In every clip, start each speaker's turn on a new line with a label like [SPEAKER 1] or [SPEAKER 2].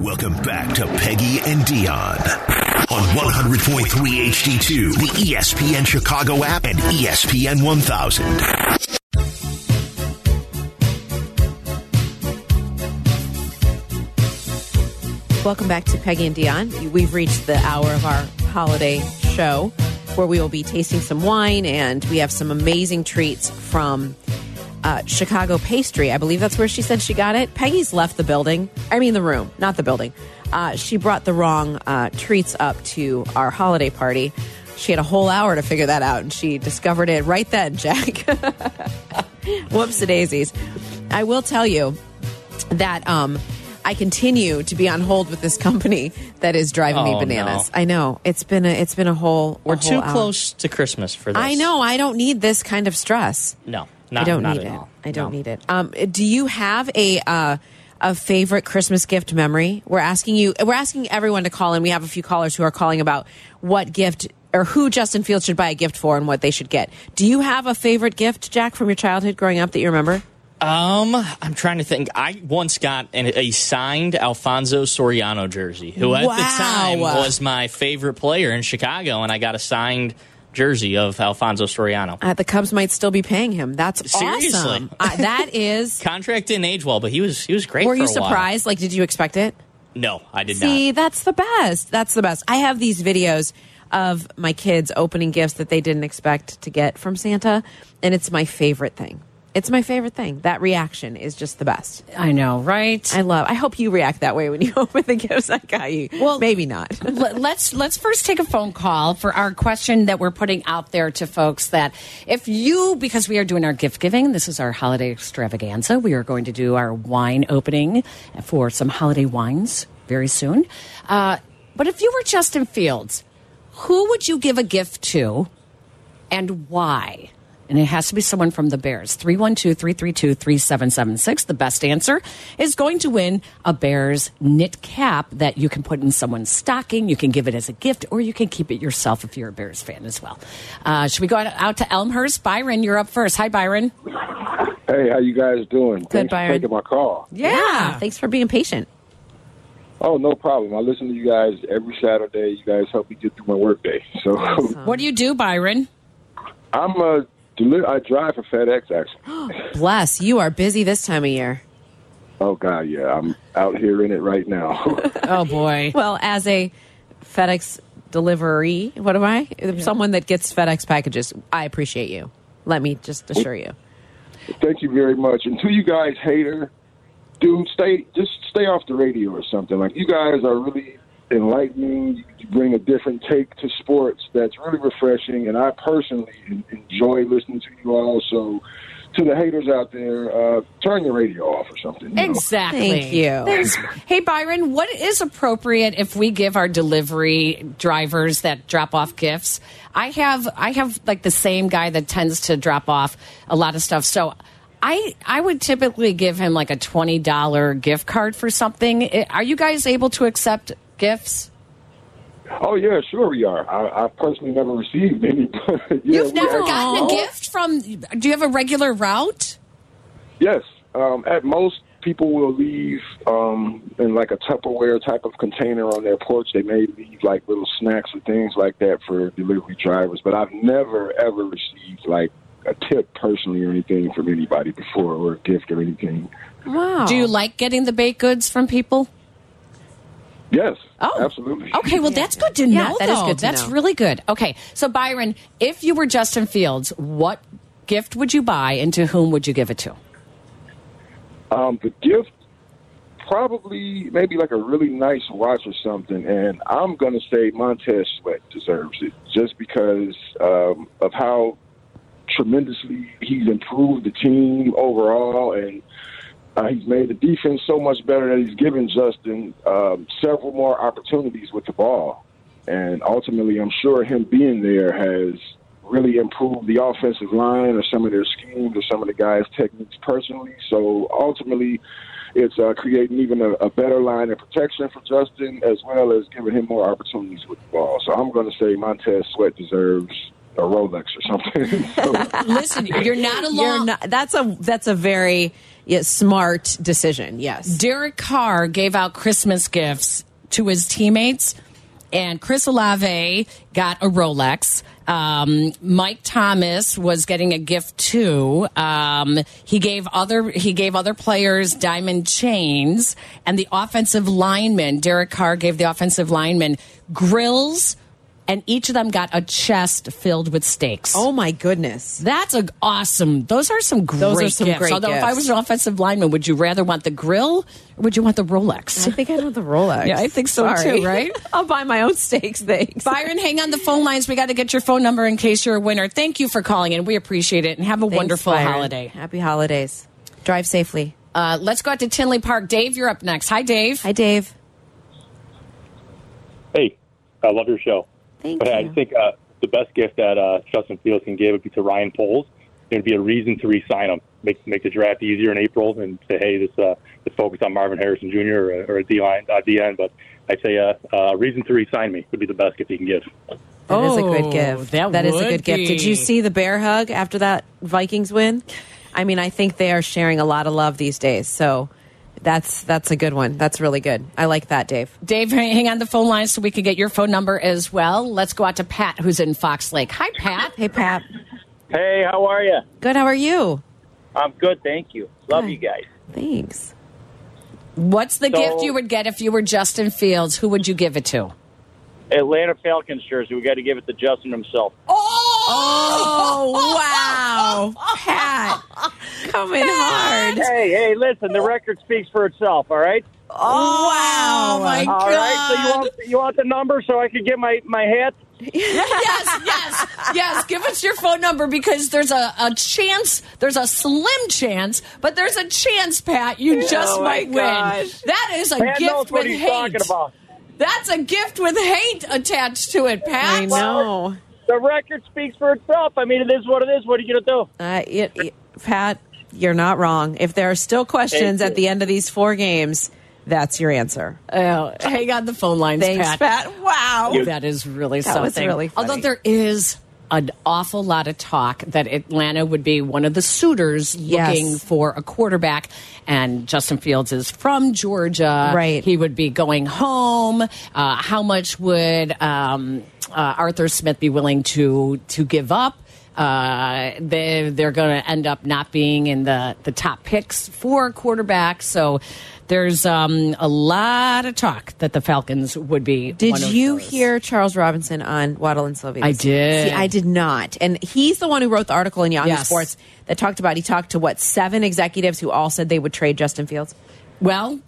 [SPEAKER 1] Welcome back to Peggy and Dion on 100.3 HD2, the E ESPN Chicago app, and E ESPN 1000.
[SPEAKER 2] Welcome back to Peggy and Dion. We've reached the hour of our holiday show where we will be tasting some wine and we have some amazing treats from uh, Chicago Pastry. I believe that's where she said she got it. Peggy's left the building. I mean, the room, not the building. Uh, she brought the wrong uh, treats up to our holiday party. She had a whole hour to figure that out and she discovered it right then, Jack. Whoops a daisies. I will tell you that um, I continue to be on hold with this company that is driving
[SPEAKER 3] Oh,
[SPEAKER 2] me bananas.
[SPEAKER 3] no.
[SPEAKER 2] I know it's been a it's been a whole. a
[SPEAKER 3] We're
[SPEAKER 2] whole
[SPEAKER 3] too
[SPEAKER 2] hour.
[SPEAKER 3] close to Christmas for this.
[SPEAKER 2] I know. I don't need this kind of stress.
[SPEAKER 3] No, not,
[SPEAKER 2] I don't
[SPEAKER 3] not
[SPEAKER 2] need it.
[SPEAKER 3] at all.
[SPEAKER 2] I don't
[SPEAKER 3] No.
[SPEAKER 2] need it. Um, do you have a uh, a favorite Christmas gift memory? We're asking you. We're asking everyone to call in. We have a few callers who are calling about what gift or who Justin Fields should buy a gift for and what they should get. Do you have a favorite gift, Jack, from your childhood growing up that you remember?
[SPEAKER 3] Um, I'm trying to think. I once got an, a signed Alfonso Soriano jersey, who at
[SPEAKER 2] Wow.
[SPEAKER 3] the time was my favorite player in Chicago, and I got a signed jersey of Alfonso Soriano.
[SPEAKER 2] Uh, the Cubs might still be paying him. That's
[SPEAKER 3] Seriously?
[SPEAKER 2] awesome. Uh, that is.
[SPEAKER 3] Contract didn't age well, but he was he was great.
[SPEAKER 2] Were
[SPEAKER 3] for
[SPEAKER 2] you
[SPEAKER 3] a while.
[SPEAKER 2] surprised? Like, did you expect it?
[SPEAKER 3] No, I did
[SPEAKER 2] See,
[SPEAKER 3] not.
[SPEAKER 2] that's the best. That's the best. I have these videos of my kids opening gifts that they didn't expect to get from Santa, and it's my favorite thing. It's my favorite thing. That reaction is just the best.
[SPEAKER 4] I know, right?
[SPEAKER 2] I love. I hope you react that way when you open the gifts I got you. Well, maybe not.
[SPEAKER 4] Let- let's let's first take a phone call for our question that we're putting out there to folks that if you because we are doing our gift giving this is our holiday extravaganza we are going to do our wine opening for some holiday wines very soon uh, but if you were Justin Fields who would you give a gift to and why? And it has to be someone from the Bears. 312 332 3776. The best answer is going to win a Bears knit cap that you can put in someone's stocking. You can give it as a gift, or you can keep it yourself if you're a Bears fan as well. Uh, should we go out- out to Elmhurst? Byron, you're up first. Hi, Byron.
[SPEAKER 5] Hey, how you guys doing? Thanks
[SPEAKER 2] Byron.
[SPEAKER 5] for taking my call.
[SPEAKER 2] yeah. Thanks for being patient.
[SPEAKER 5] Oh, no problem. I listen to you guys every Saturday. You guys help me get through my workday. So
[SPEAKER 4] What do you do, Byron?
[SPEAKER 5] I'm a deli- I drive for FedEx actually.
[SPEAKER 2] Bless. You are busy this time of year.
[SPEAKER 5] Oh God, yeah, I'm out here in it right now.
[SPEAKER 4] Oh, boy.
[SPEAKER 2] Well, as a FedEx delivery, what am I? Someone that gets FedEx packages. I appreciate you. Let me just assure you.
[SPEAKER 5] Thank you very much. And to you guys, hater, dude, stay just stay off the radio or something. Like you guys are really enlightening. You bring a different take to sports that's really refreshing, and I personally en- enjoy listening to you all. So, to the haters out there, uh, turn your radio off or something. you know?
[SPEAKER 4] Exactly.
[SPEAKER 2] Thank you.
[SPEAKER 4] There's- hey, Byron, what is appropriate if we give our delivery drivers that drop off gifts? I have I have like the same guy that tends to drop off a lot of stuff. So I I would typically give him like a twenty dollar gift card for something. I- Are you guys able to accept gifts?
[SPEAKER 5] Oh yeah, sure we are. I, I personally never received any. But yeah,
[SPEAKER 4] You've
[SPEAKER 5] we
[SPEAKER 4] never
[SPEAKER 5] actually-
[SPEAKER 4] gotten a gift from? Do you have a regular route?
[SPEAKER 5] Yes. Um, at most, people will leave um, in like a Tupperware type of container on their porch. They may leave like little snacks or things like that for delivery drivers. But I've never ever received like a tip personally or anything from anybody before, or a gift or anything.
[SPEAKER 2] Wow.
[SPEAKER 4] Do you like getting the baked goods from people?
[SPEAKER 5] Yes.
[SPEAKER 4] Oh,
[SPEAKER 5] absolutely.
[SPEAKER 4] Okay, well, that's good to
[SPEAKER 2] Yeah,
[SPEAKER 4] know.
[SPEAKER 2] that is
[SPEAKER 4] though.
[SPEAKER 2] good to
[SPEAKER 4] that's
[SPEAKER 2] know.
[SPEAKER 4] really good. Okay, so Byron, if you were Justin Fields, what gift would you buy, and to whom would you give it to?
[SPEAKER 5] Um, the gift, probably maybe like a really nice watch or something. And I'm gonna say Montez Sweat deserves it just because um, of how tremendously he's improved the team overall, and uh, he's made the defense so much better that he's given Justin um, several more opportunities with the ball. And ultimately, I'm sure him being there has really improved the offensive line or some of their schemes or some of the guys' techniques personally. So ultimately, it's uh, creating even a, a better line of protection for Justin as well as giving him more opportunities with the ball. So I'm going to say Montez Sweat deserves a Rolex or something. So-
[SPEAKER 4] Listen, you're not alone.
[SPEAKER 2] You're not, that's a that's a very yeah, smart decision. Yes.
[SPEAKER 4] Derek Carr gave out Christmas gifts to his teammates, and Chris Olave got a Rolex. Um, Mike Thomas was getting a gift too. Um, he gave other he gave other players diamond chains, and the offensive lineman Derek Carr gave the offensive lineman grills, and each of them got a chest filled with steaks.
[SPEAKER 2] Oh my goodness.
[SPEAKER 4] That's a, awesome. Those are some great
[SPEAKER 2] are some
[SPEAKER 4] gifts.
[SPEAKER 2] great
[SPEAKER 4] Although, if
[SPEAKER 2] gifts.
[SPEAKER 4] I was an offensive lineman, would you rather want the grill or would you want the Rolex?
[SPEAKER 2] I think I know the Rolex.
[SPEAKER 4] Yeah, I think so,
[SPEAKER 2] Sorry.
[SPEAKER 4] too, right?
[SPEAKER 2] I'll buy my own steaks. Thanks.
[SPEAKER 4] Byron, hang on the phone lines. We got to get your phone number in case you're a winner. Thank you for calling in. We appreciate it and have a
[SPEAKER 2] Thanks,
[SPEAKER 4] wonderful
[SPEAKER 2] Byron.
[SPEAKER 4] holiday.
[SPEAKER 2] Happy holidays. Drive safely.
[SPEAKER 4] Uh, let's go out to Tinley Park. Dave, you're up next. Hi, Dave.
[SPEAKER 2] Hi, Dave.
[SPEAKER 6] Hey, I love your show.
[SPEAKER 2] Thank
[SPEAKER 6] but
[SPEAKER 2] you.
[SPEAKER 6] I think uh, the best gift that uh, Justin Fields can give would be to Ryan Poles. There'd be a reason to re-sign him, make make the draft easier in April, and say, hey, this uh, let's focus on Marvin Harrison Jr. or, or a D line, uh, DN. But I'd say uh, uh, a reason to re-sign me would be the best gift he can give.
[SPEAKER 2] That is a
[SPEAKER 4] Oh,
[SPEAKER 2] good gift.
[SPEAKER 4] that
[SPEAKER 2] that is a
[SPEAKER 4] would
[SPEAKER 2] good gift. Did
[SPEAKER 4] be.
[SPEAKER 2] you see the bear hug after that Vikings win? I mean, I think they are sharing a lot of love these days. So that's that's a good one. That's really good. I like that, Dave.
[SPEAKER 4] Dave, hang hang on the phone lines so we can get your phone number as well. Let's go out to Pat, who's in Fox Lake. Hi, Pat.
[SPEAKER 2] Hey, Pap.
[SPEAKER 7] Hey, how are you?
[SPEAKER 2] Good. How are you?
[SPEAKER 7] I'm good, thank you. Love
[SPEAKER 2] Hi.
[SPEAKER 7] you guys.
[SPEAKER 2] Thanks.
[SPEAKER 4] What's the
[SPEAKER 7] So-
[SPEAKER 4] gift you would get if you were Justin Fields? Who would you give it to?
[SPEAKER 7] Atlanta Falcons jersey. We got to give it to Justin himself.
[SPEAKER 2] Oh wow, Pat, coming hard.
[SPEAKER 7] Hey, hey, listen. The record speaks for itself. All right.
[SPEAKER 2] Oh wow, my
[SPEAKER 7] All right. So you want you want the number so I could get my my hat?
[SPEAKER 4] yes, yes, yes. Give us your phone number because there's a, a chance, there's a slim chance, but there's a chance, Pat, you just
[SPEAKER 7] Oh, my
[SPEAKER 4] might win.
[SPEAKER 7] gosh.
[SPEAKER 4] That is a
[SPEAKER 7] Pat
[SPEAKER 4] gift
[SPEAKER 7] knows
[SPEAKER 4] with
[SPEAKER 7] what he's
[SPEAKER 4] hate.
[SPEAKER 7] talking about.
[SPEAKER 4] That's a gift with hate attached to it, Pat.
[SPEAKER 2] I know.
[SPEAKER 7] The record speaks for itself. I mean, it is what it is. What are you gonna do?
[SPEAKER 2] Uh, it, it- Pat, you're not wrong. If there are still questions
[SPEAKER 7] Thank
[SPEAKER 2] at the end of these four games, that's your answer.
[SPEAKER 4] Oh, hang on the phone lines,
[SPEAKER 2] Thanks, Pat. Wow.
[SPEAKER 4] That is really
[SPEAKER 2] That was
[SPEAKER 4] something.
[SPEAKER 2] really funny.
[SPEAKER 4] Although there is an awful lot of talk that Atlanta would be one of the suitors
[SPEAKER 2] Yes.
[SPEAKER 4] looking for a quarterback, and Justin Fields is from Georgia.
[SPEAKER 2] Right.
[SPEAKER 4] He would be going home. Uh, how much would um, uh, Arthur Smith be willing to to give up? Uh, they they're going to end up not being in the the top picks for quarterback. So. There's um, a lot of talk that the Falcons would be.
[SPEAKER 2] Did
[SPEAKER 4] one of
[SPEAKER 2] you
[SPEAKER 4] those.
[SPEAKER 2] hear Charles Robinson on Waddle and Sylvie?
[SPEAKER 4] I
[SPEAKER 2] this week?
[SPEAKER 4] did.
[SPEAKER 2] See, I did not. And he's the one who wrote the article in Yahoo
[SPEAKER 4] Yes.
[SPEAKER 2] Sports that talked about he talked to what seven executives who all said they would trade Justin Fields.
[SPEAKER 4] Well,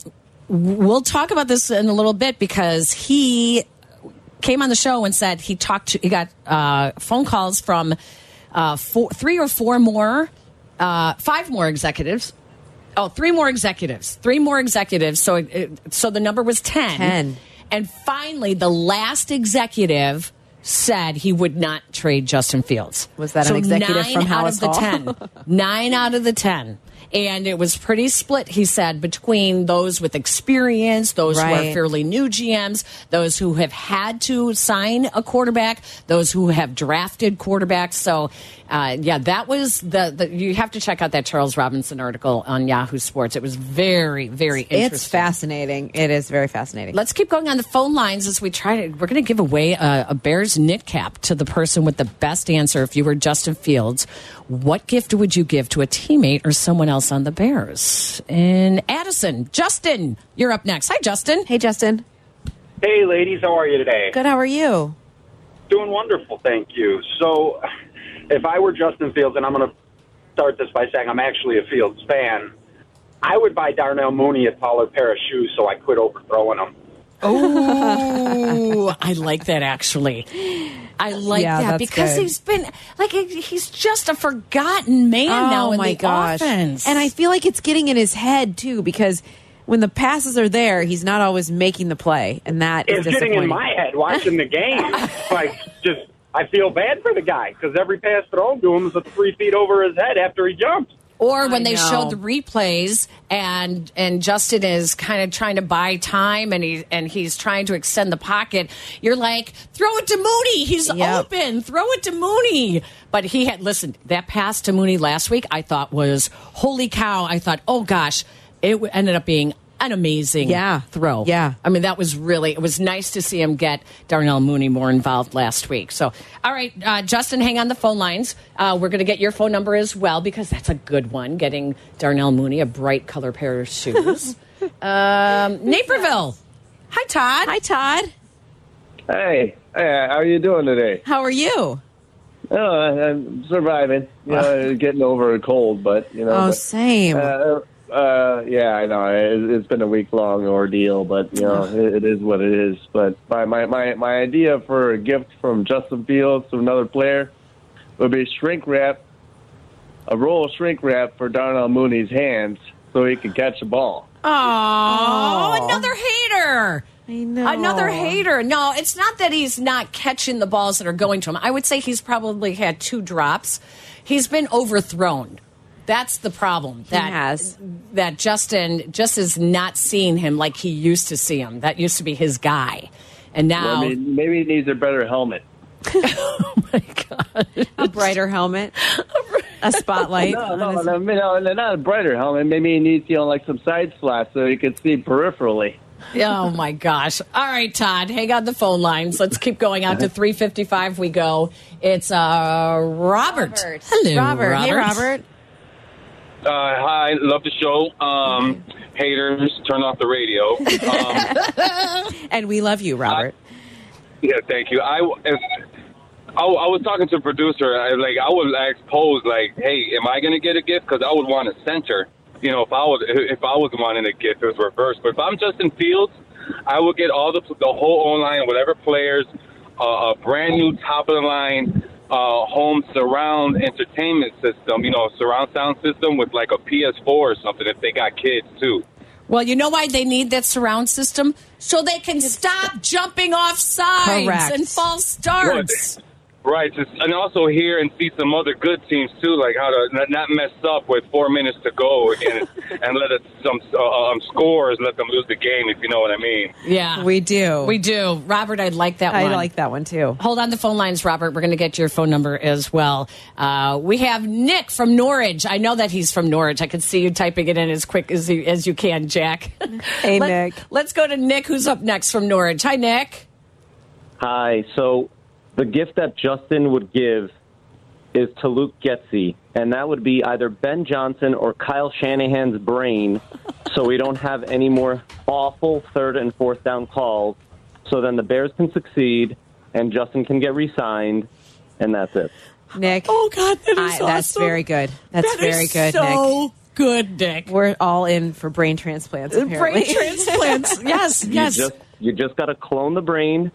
[SPEAKER 4] we'll talk about this in a little bit because he came on the show and said he talked to, he got uh, phone calls from uh, four, three or four more, uh, five more executives. Oh, three more executives. Three more executives. So, it, it- so the number was 10.
[SPEAKER 2] 10.
[SPEAKER 4] And finally, the last executive said he would not trade Justin Fields.
[SPEAKER 2] Was that an executive
[SPEAKER 4] nine
[SPEAKER 2] from
[SPEAKER 4] out
[SPEAKER 2] Hallis
[SPEAKER 4] of the
[SPEAKER 2] Hall?
[SPEAKER 4] ten? nine out of the ten. And it was pretty split, he said, between those with experience, those who are
[SPEAKER 2] Right.
[SPEAKER 4] fairly new GMs, those who have had to sign a quarterback, those who have drafted quarterbacks. So, uh, yeah, that was the, the. You have to check out that Charles Robinson article on Yahoo Sports. It was very, very interesting.
[SPEAKER 2] It's fascinating. It is very fascinating.
[SPEAKER 4] Let's keep going on the phone lines as we try to. We're going to give away a, a Bears knit cap to the person with the best answer. If you were Justin Fields, what gift would you give to a teammate or someone else on the Bears? And Addison, Justin, you're up next. Hi, Justin.
[SPEAKER 2] hey, Justin.
[SPEAKER 8] Hey, ladies, how are you today?
[SPEAKER 2] Good. How are you?
[SPEAKER 8] Doing wonderful, thank you. So, if I were Justin Fields, and I'm going to start this by saying I'm actually a Fields fan, I would buy Darnell Mooney a taller pair of shoes so I quit overthrowing him.
[SPEAKER 4] Oh, I like that actually. I like
[SPEAKER 2] Yeah,
[SPEAKER 4] that
[SPEAKER 2] that's
[SPEAKER 4] because
[SPEAKER 2] good.
[SPEAKER 4] he's been like he- he's just a forgotten man now in the offense.
[SPEAKER 2] Oh And I feel like it's getting in his head too because when the passes are there, he's not always making the play, and that is
[SPEAKER 8] It's getting in
[SPEAKER 2] disappointing.
[SPEAKER 8] my head watching the game. like, just, I feel bad for the guy because every pass thrown to him is a three feet over his head after he jumps.
[SPEAKER 4] Or when
[SPEAKER 2] I
[SPEAKER 4] they
[SPEAKER 2] know.
[SPEAKER 4] showed the replays and and Justin is kind of trying to buy time and he and he's trying to extend the pocket, you're like, throw it to Mooney. He's
[SPEAKER 2] Yep.
[SPEAKER 4] open. Throw it to Mooney. But he had listened, that pass to Mooney last week I thought was holy cow. I thought, oh gosh, it ended up being an amazing
[SPEAKER 2] Yeah.
[SPEAKER 4] throw.
[SPEAKER 2] Yeah.
[SPEAKER 4] I mean, that was really, it was nice to see him get Darnell Mooney more involved last week. So, all right, uh, Justin, hang on the phone lines. Uh, we're going to get your phone number as well because that's a good one, getting Darnell Mooney a bright color pair of shoes. um, Naperville. Hi, Todd.
[SPEAKER 2] Hi, Todd.
[SPEAKER 9] Hey, hey, how are you doing today?
[SPEAKER 2] How are you?
[SPEAKER 9] Oh, I- I'm surviving. You know, getting over a cold, but you know.
[SPEAKER 2] Oh,
[SPEAKER 9] but,
[SPEAKER 2] same.
[SPEAKER 9] Uh, uh, yeah, I know. It, it's been a week long ordeal, but you know, it, it is what it is. But my, my my my idea for a gift from Justin Fields to another player would be shrink wrap, a roll of shrink wrap for Darnell Mooney's hands so he could catch the ball.
[SPEAKER 4] Oh, another hater.
[SPEAKER 2] I know.
[SPEAKER 4] Another hater. No, it's not that he's not catching the balls that are going to him. I would say he's probably had two drops. He's been overthrown. That's the problem. That
[SPEAKER 2] has.
[SPEAKER 4] that Justin just is not seeing him like he used to see him. That used to be his guy. And now Oh,
[SPEAKER 9] Well, I mean, maybe he needs a better helmet.
[SPEAKER 2] A brighter helmet, a spotlight.
[SPEAKER 9] No,
[SPEAKER 2] on
[SPEAKER 9] no,
[SPEAKER 2] his-
[SPEAKER 9] no, no, no, not a brighter helmet. Maybe he needs, you know, like some side slats so he could see peripherally.
[SPEAKER 4] oh my gosh. All right, Todd, hang on the phone lines. Let's keep going out to 355 we go. It's uh Robert.
[SPEAKER 2] Robert.
[SPEAKER 4] Hello,
[SPEAKER 2] Robert. Hey, Robert.
[SPEAKER 10] Uh, hi, love the show. Um, haters, turn off the radio. Um,
[SPEAKER 2] And we love you, Robert.
[SPEAKER 10] yeah, thank you. I, if, I, I was talking to a producer. I, like, I would ask Pose, like, hey, am I going to get a gift? Because I would want a center. You know, if I was if I was wanting a gift, it was reversed. But if I'm Justin Fields, I would get all the the whole online, whatever players, uh, a brand new top of the line uh, home surround entertainment system. You know, surround sound system with like a PS4 or something. If they got kids too.
[SPEAKER 4] Well, you know why they need that surround system? So they can stop jumping off sides
[SPEAKER 2] Correct.
[SPEAKER 4] and false starts.
[SPEAKER 10] Right, just, and also hear and see some other good teams too, like how to not- not mess up with four minutes to go and, and let us some uh, um, scores let them lose the game if you know what I mean.
[SPEAKER 4] Yeah.
[SPEAKER 2] we do.
[SPEAKER 4] We do. Robert, I'd like that
[SPEAKER 2] I
[SPEAKER 4] one.
[SPEAKER 2] like that one too.
[SPEAKER 4] Hold on the phone lines, Robert. We're going to get your phone number as well. Uh, we have Nick from Norwich. I know that he's from Norwich. I can see you typing it in as quick as you, as you can, Jack.
[SPEAKER 2] Hey,
[SPEAKER 4] Let-
[SPEAKER 2] Nick.
[SPEAKER 4] Let's go to Nick, who's up next from Norwich. Hi, Nick.
[SPEAKER 9] Hi. So the gift that Justin would give is to Luke Getzey, and that would be either Ben Johnson or Kyle Shanahan's brain, so we don't have any more awful third and fourth down calls. So then the Bears can succeed, and Justin can get re-signed, and that's it.
[SPEAKER 2] Nick.
[SPEAKER 4] Oh, God, that
[SPEAKER 2] I- that's very good. That's very good, Nick.
[SPEAKER 4] So good, Nick.
[SPEAKER 2] We're all in for brain transplants. Apparently.
[SPEAKER 4] Brain transplants. yes, yes.
[SPEAKER 9] You just you just got to clone the brain,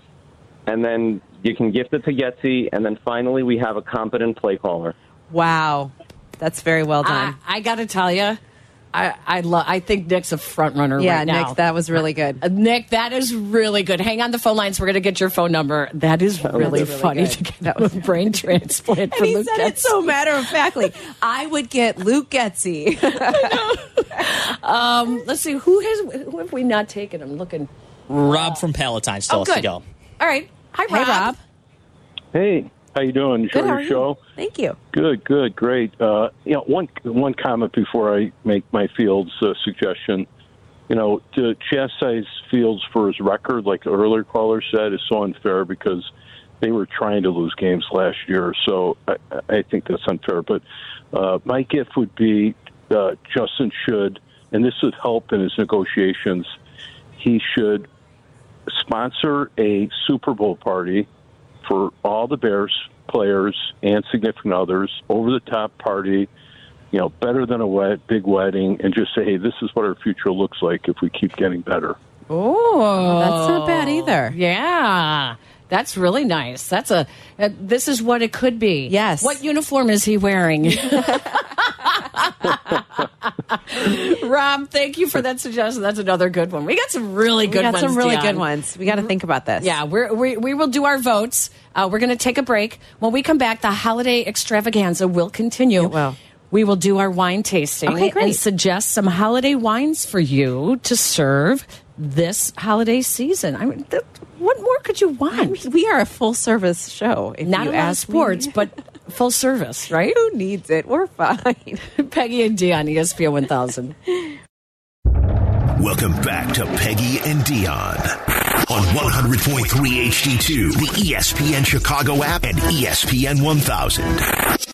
[SPEAKER 9] and then you can gift it to Getzey, and then finally we have a competent play caller.
[SPEAKER 2] wow, that's very well
[SPEAKER 4] I,
[SPEAKER 2] done.
[SPEAKER 4] I got to tell you, I I, lo- I think Nick's a front runner
[SPEAKER 2] yeah,
[SPEAKER 4] right now.
[SPEAKER 2] Nick, that was really
[SPEAKER 4] Uh,
[SPEAKER 2] good.
[SPEAKER 4] Nick, that is really good. Hang on the phone lines. We're going to get your phone number. That is really,
[SPEAKER 2] really
[SPEAKER 4] funny
[SPEAKER 2] good.
[SPEAKER 4] to get that was a brain transplant for
[SPEAKER 2] And he
[SPEAKER 4] Luke
[SPEAKER 2] said it
[SPEAKER 4] Getz.
[SPEAKER 2] so matter of factly. I would get Luke Getzey.
[SPEAKER 4] Um, let's see who has who have we not taken? I'm looking.
[SPEAKER 3] Rob from Palatine still
[SPEAKER 4] Oh,
[SPEAKER 3] has to
[SPEAKER 4] good.
[SPEAKER 3] go.
[SPEAKER 4] All right. Hi,
[SPEAKER 2] Hey,
[SPEAKER 4] Rob.
[SPEAKER 2] Rob.
[SPEAKER 11] Hey, how you doing? Enjoy
[SPEAKER 2] Good, how
[SPEAKER 11] your
[SPEAKER 2] are you?
[SPEAKER 11] show.
[SPEAKER 2] Thank you.
[SPEAKER 11] Good, good, great. Uh, you know, one one comment before I make my Fields uh, suggestion. You know, to chastise Fields for his record, like the earlier caller said, is so unfair because they were trying to lose games last year. So I, I think that's unfair. But uh, my gift would be uh, Justin should, and this would help in his negotiations. He should sponsor a Super Bowl party for all the Bears players and significant others, over the top party, you know, better than a wet, big wedding, and just say, hey, this is what our future looks like if we keep getting better.
[SPEAKER 4] Oh,
[SPEAKER 2] that's not bad either.
[SPEAKER 4] Yeah. That's really nice. That's a. Uh, this is what it could be.
[SPEAKER 2] Yes.
[SPEAKER 4] What uniform is he wearing? Rob, thank you for that suggestion. That's another good one. We got some really
[SPEAKER 2] We
[SPEAKER 4] good
[SPEAKER 2] got
[SPEAKER 4] ones.
[SPEAKER 2] some really
[SPEAKER 4] Dion.
[SPEAKER 2] good Mm-hmm. ones. We got to think about this.
[SPEAKER 4] Yeah, we're, we, we will do our votes. Uh, we're going to take a break. When we come back, the holiday extravaganza will continue.
[SPEAKER 2] It will.
[SPEAKER 4] we will do our wine tasting
[SPEAKER 2] Okay, great.
[SPEAKER 4] and suggest some holiday wines for you to serve this holiday season. I mean, th- what more could you want?
[SPEAKER 2] we are a full service show. If
[SPEAKER 4] Not
[SPEAKER 2] you
[SPEAKER 4] a lot of
[SPEAKER 2] ask me.
[SPEAKER 4] sports, but full service, right?
[SPEAKER 2] Who needs it? We're fine.
[SPEAKER 4] Peggy and Dion, E ESPN 1000.
[SPEAKER 1] Welcome back to Peggy and Dion on 100.3 HD2, the E ESPN Chicago app and E ESPN 1000.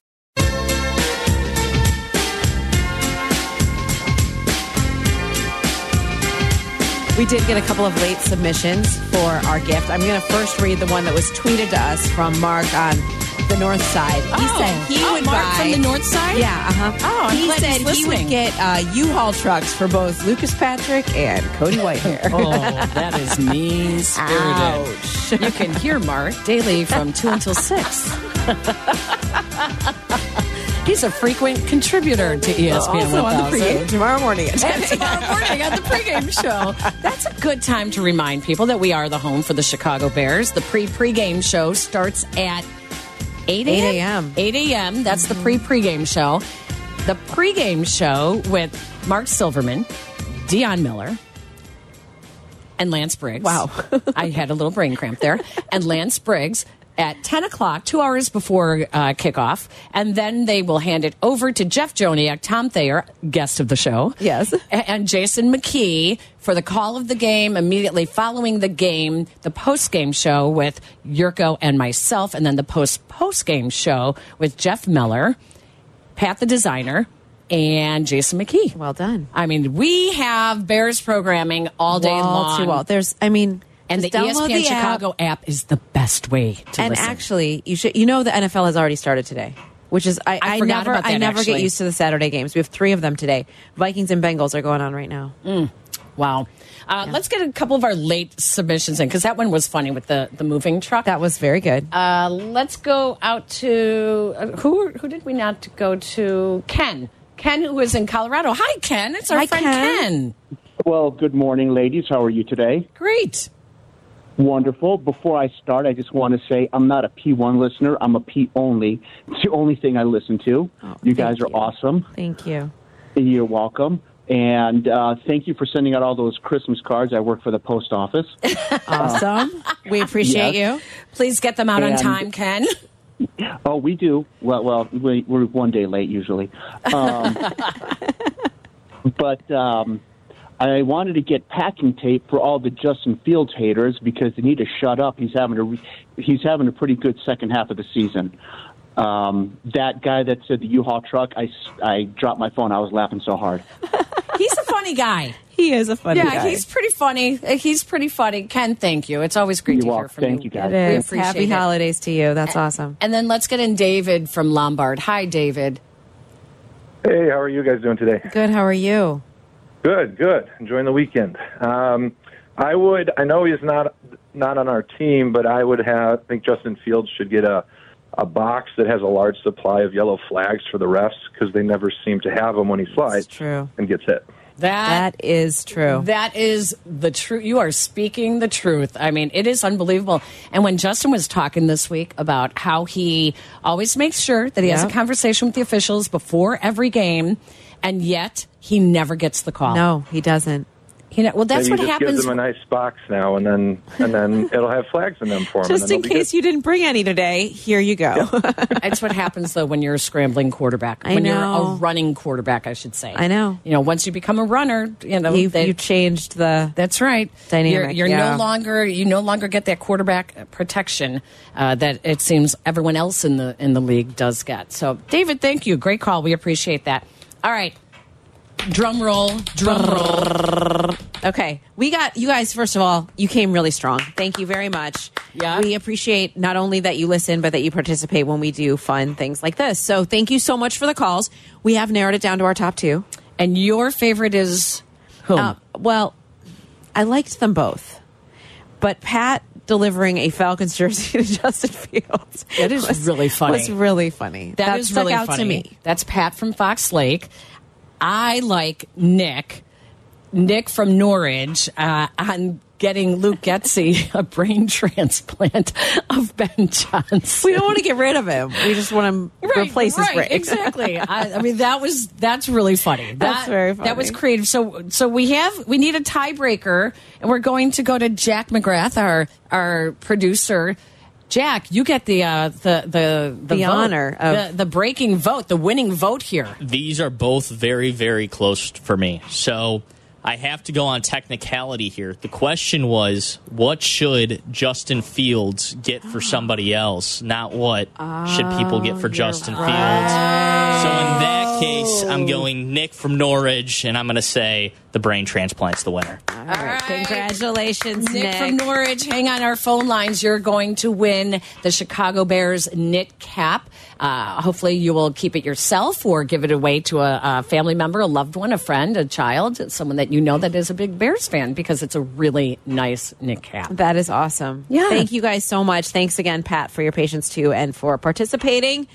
[SPEAKER 2] We did get a couple of late submissions for our gift. I'm going to first read the one that was tweeted to us from Mark on the north side. He
[SPEAKER 4] Oh.
[SPEAKER 2] said he
[SPEAKER 4] Oh,
[SPEAKER 2] would
[SPEAKER 4] Mark
[SPEAKER 2] buy
[SPEAKER 4] from the north side?
[SPEAKER 2] Yeah, uh huh.
[SPEAKER 4] Oh, I'm
[SPEAKER 2] he
[SPEAKER 4] glad
[SPEAKER 2] said
[SPEAKER 4] he's
[SPEAKER 2] he would
[SPEAKER 4] listening.
[SPEAKER 2] get uh, U-Haul trucks for both Lucas Patrick and Cody Whitehair.
[SPEAKER 4] Oh, that is mean spirited. You can hear Mark daily from 2 until 6. He's a frequent contributor to E ESPN
[SPEAKER 2] also on the
[SPEAKER 4] 1000.
[SPEAKER 2] pregame tomorrow morning at 10
[SPEAKER 4] And tomorrow morning on the pregame show. That's a good time to remind people that we are the home for the Chicago Bears. The pre pregame show starts at
[SPEAKER 2] 8
[SPEAKER 4] 8
[SPEAKER 2] a.m.
[SPEAKER 4] 8 a.m. That's the pre pregame show. The pregame show with Mark Silverman, Dion Miller, and Lance Briggs.
[SPEAKER 2] Wow.
[SPEAKER 4] I had a little brain cramp there. And Lance Briggs at 10 o'clock, two hours before uh, kickoff. And then they will hand it over to Jeff Joniak, Tom Thayer, guest of the show.
[SPEAKER 2] Yes.
[SPEAKER 4] a- And Jason McKee for the call of the game, immediately following the game, the post game show with Yurko and myself. And then the post post game show with Jeff Miller, Pat the designer, and Jason McKee.
[SPEAKER 2] Well done.
[SPEAKER 4] I mean, we have Bears programming all day
[SPEAKER 2] Wall
[SPEAKER 4] long.
[SPEAKER 2] to wall. There's, I mean,
[SPEAKER 4] And the E
[SPEAKER 2] just download
[SPEAKER 4] ESPN
[SPEAKER 2] the app.
[SPEAKER 4] Chicago app. is the best way to
[SPEAKER 2] and
[SPEAKER 4] listen.
[SPEAKER 2] actually, you should. You know, the NFL has already started today, which is I,
[SPEAKER 4] I
[SPEAKER 2] I,
[SPEAKER 4] forgot
[SPEAKER 2] never,
[SPEAKER 4] about that,
[SPEAKER 2] I never
[SPEAKER 4] actually.
[SPEAKER 2] get used to the Saturday games. We have three of them today. Vikings and Bengals are going on right now.
[SPEAKER 4] Mm. wow. Uh, Let's get a couple of our late submissions in because that one was funny with the, the moving truck.
[SPEAKER 2] That was very good.
[SPEAKER 4] Uh, let's go out to uh, who? Who did we not go to? Ken. Ken, who is in Colorado. Hi, Ken. It's our
[SPEAKER 2] Hi,
[SPEAKER 4] friend
[SPEAKER 2] Ken.
[SPEAKER 4] Ken.
[SPEAKER 12] Well, good morning, ladies. How are you today?
[SPEAKER 4] Great.
[SPEAKER 12] Wonderful. Before I start, I just want to say I'm not a P1 listener. I'm a P only. It's the only thing I listen to.
[SPEAKER 2] Oh,
[SPEAKER 12] you guys are awesome.
[SPEAKER 2] Thank you.
[SPEAKER 12] You're welcome. And uh, thank you for sending out all those Christmas cards. I work for the post office.
[SPEAKER 2] Awesome. we appreciate
[SPEAKER 12] Yes.
[SPEAKER 2] you.
[SPEAKER 4] Please get them out on
[SPEAKER 12] And-
[SPEAKER 4] time, Ken.
[SPEAKER 12] oh, we do. Well, well, we, we're one day late usually. Um, but um, I wanted to get packing tape for all the Justin Fields haters because they need to shut up. He's having a re- he's having a pretty good second half of the season. Um, that guy that said the U-Haul truck, I, s- I dropped my phone. I was laughing so hard.
[SPEAKER 4] He's a funny guy.
[SPEAKER 2] He is a funny
[SPEAKER 4] yeah, he's pretty funny. Uh, He's pretty funny. Ken, thank you. It's always great
[SPEAKER 12] You're
[SPEAKER 4] to hear
[SPEAKER 12] welcome.
[SPEAKER 4] from
[SPEAKER 12] Thank you,
[SPEAKER 4] you.
[SPEAKER 12] guys.
[SPEAKER 2] It is.
[SPEAKER 4] We appreciate
[SPEAKER 2] Happy
[SPEAKER 4] it. Uh,
[SPEAKER 2] holidays to you. That's awesome.
[SPEAKER 4] And then let's get in David from Lombard. Hi, David.
[SPEAKER 13] Hey, how are you guys doing today?
[SPEAKER 2] Good. How are you?
[SPEAKER 13] Good, good. Enjoying the weekend. Um, I would. I know he's not not on our team, but I would have. I think Justin Fields should get a a box that has a large supply of yellow flags for the refs because they never seem to have them when he flies
[SPEAKER 2] True.
[SPEAKER 13] and gets hit.
[SPEAKER 4] That,
[SPEAKER 2] That is true.
[SPEAKER 4] that is the truth. You are speaking the truth. I mean, it is unbelievable. And when Justin was talking this week about how he always makes sure that he has
[SPEAKER 2] Yep.
[SPEAKER 4] a conversation with the officials before every game, and yet he never gets the call.
[SPEAKER 2] No, he doesn't.
[SPEAKER 4] He ne- well, that's
[SPEAKER 13] Maybe
[SPEAKER 4] what
[SPEAKER 13] just
[SPEAKER 4] happens.
[SPEAKER 13] Give them a nice box now, and then and then it'll have flags in them for him.
[SPEAKER 2] Just in case you didn't bring any today, here you go.
[SPEAKER 4] That's what happens though when you're a scrambling quarterback.
[SPEAKER 2] I
[SPEAKER 4] when you're
[SPEAKER 2] know.
[SPEAKER 4] a running quarterback, I should say.
[SPEAKER 2] I know.
[SPEAKER 4] You know, once you become a runner, you know
[SPEAKER 2] you,
[SPEAKER 4] they-
[SPEAKER 2] you changed the.
[SPEAKER 4] That's right.
[SPEAKER 2] Dynamic,
[SPEAKER 4] You're, you're
[SPEAKER 2] yeah.
[SPEAKER 4] no longer you no longer get that quarterback protection uh, that it seems everyone else in the in the league does get. So, David, thank you. Great call. We appreciate that. All right. Drum roll, drum roll.
[SPEAKER 2] Okay, we got you guys. First of all, you came really strong. Thank you very much.
[SPEAKER 4] Yeah.
[SPEAKER 2] we appreciate not only that you listen, but that you participate when we do fun things like this. So thank you so much for the calls. We have narrowed it down to our top two.
[SPEAKER 4] And your favorite is whom?
[SPEAKER 2] Uh, well, I liked them both, but Pat delivering a Falcons jersey to Justin Fields
[SPEAKER 4] That is really funny.
[SPEAKER 2] Was really funny.
[SPEAKER 4] that is
[SPEAKER 2] stuck
[SPEAKER 4] really
[SPEAKER 2] out
[SPEAKER 4] funny.
[SPEAKER 2] to me.
[SPEAKER 4] That's Pat from Fox Lake. I like Nick, Nick from Norwich uh, on getting Luke Getzey a brain transplant of Ben Johnson.
[SPEAKER 2] We don't want to get rid of him. We just want him replace his brain.
[SPEAKER 4] exactly. I, I mean, that was that's really funny. That,
[SPEAKER 2] That's very funny.
[SPEAKER 4] That was creative. So, so we have we need a tiebreaker, and we're going to go to Jack McGrath, our our producer. Jack, you get the uh, the the the,
[SPEAKER 2] The
[SPEAKER 4] vote.
[SPEAKER 2] honor of-
[SPEAKER 4] the, the breaking vote, the winning vote here.
[SPEAKER 3] These are both very, very close for me. So I have to go on technicality here. The question was what should Justin Fields get for somebody else, not what should people get
[SPEAKER 4] Oh,
[SPEAKER 3] for Justin Fields. So in that case, I'm
[SPEAKER 4] Oh.
[SPEAKER 3] going Nick from Norwich, and I'm going to say the brain transplant's the winner.
[SPEAKER 2] All right. Congratulations, Nick.
[SPEAKER 4] Nick, from Norwich, hang on our phone lines. You're going to win the Chicago Bears knit cap. Uh, hopefully, you will keep it yourself or give it away to a, a family member, a loved one, a friend, a child, someone that you know that is a big Bears fan because it's a really nice knit cap.
[SPEAKER 2] That is awesome.
[SPEAKER 4] Yeah.
[SPEAKER 2] Thank you guys so much. Thanks again, Pat, for your patience too and for participating.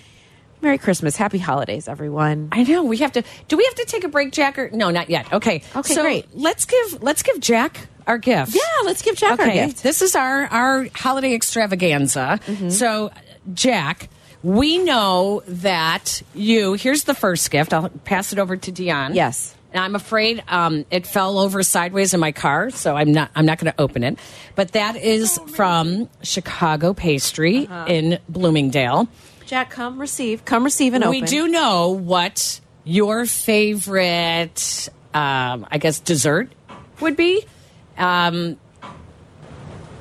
[SPEAKER 2] Merry Christmas. Happy holidays, everyone.
[SPEAKER 4] I know we have to. Do we have to take a break, Jack? Or no, not yet. Okay.
[SPEAKER 2] Okay,
[SPEAKER 4] So
[SPEAKER 2] great.
[SPEAKER 4] let's give let's give Jack our gift.
[SPEAKER 2] Yeah, let's give Jack our
[SPEAKER 4] okay.
[SPEAKER 2] gift. Mm-hmm.
[SPEAKER 4] This is our our holiday extravaganza. So, Jack, we know that you. Here's the first gift. I'll pass it over to Dion.
[SPEAKER 2] Yes.
[SPEAKER 4] And I'm afraid um, it fell over sideways in my car, so I'm not I'm not going to open it. But that is from Chicago Pastry
[SPEAKER 2] Uh-huh.
[SPEAKER 4] in Bloomingdale
[SPEAKER 2] Jack, come receive. Come receive and
[SPEAKER 4] we
[SPEAKER 2] open.
[SPEAKER 4] do know what your favorite, um, I guess, dessert would be. Um,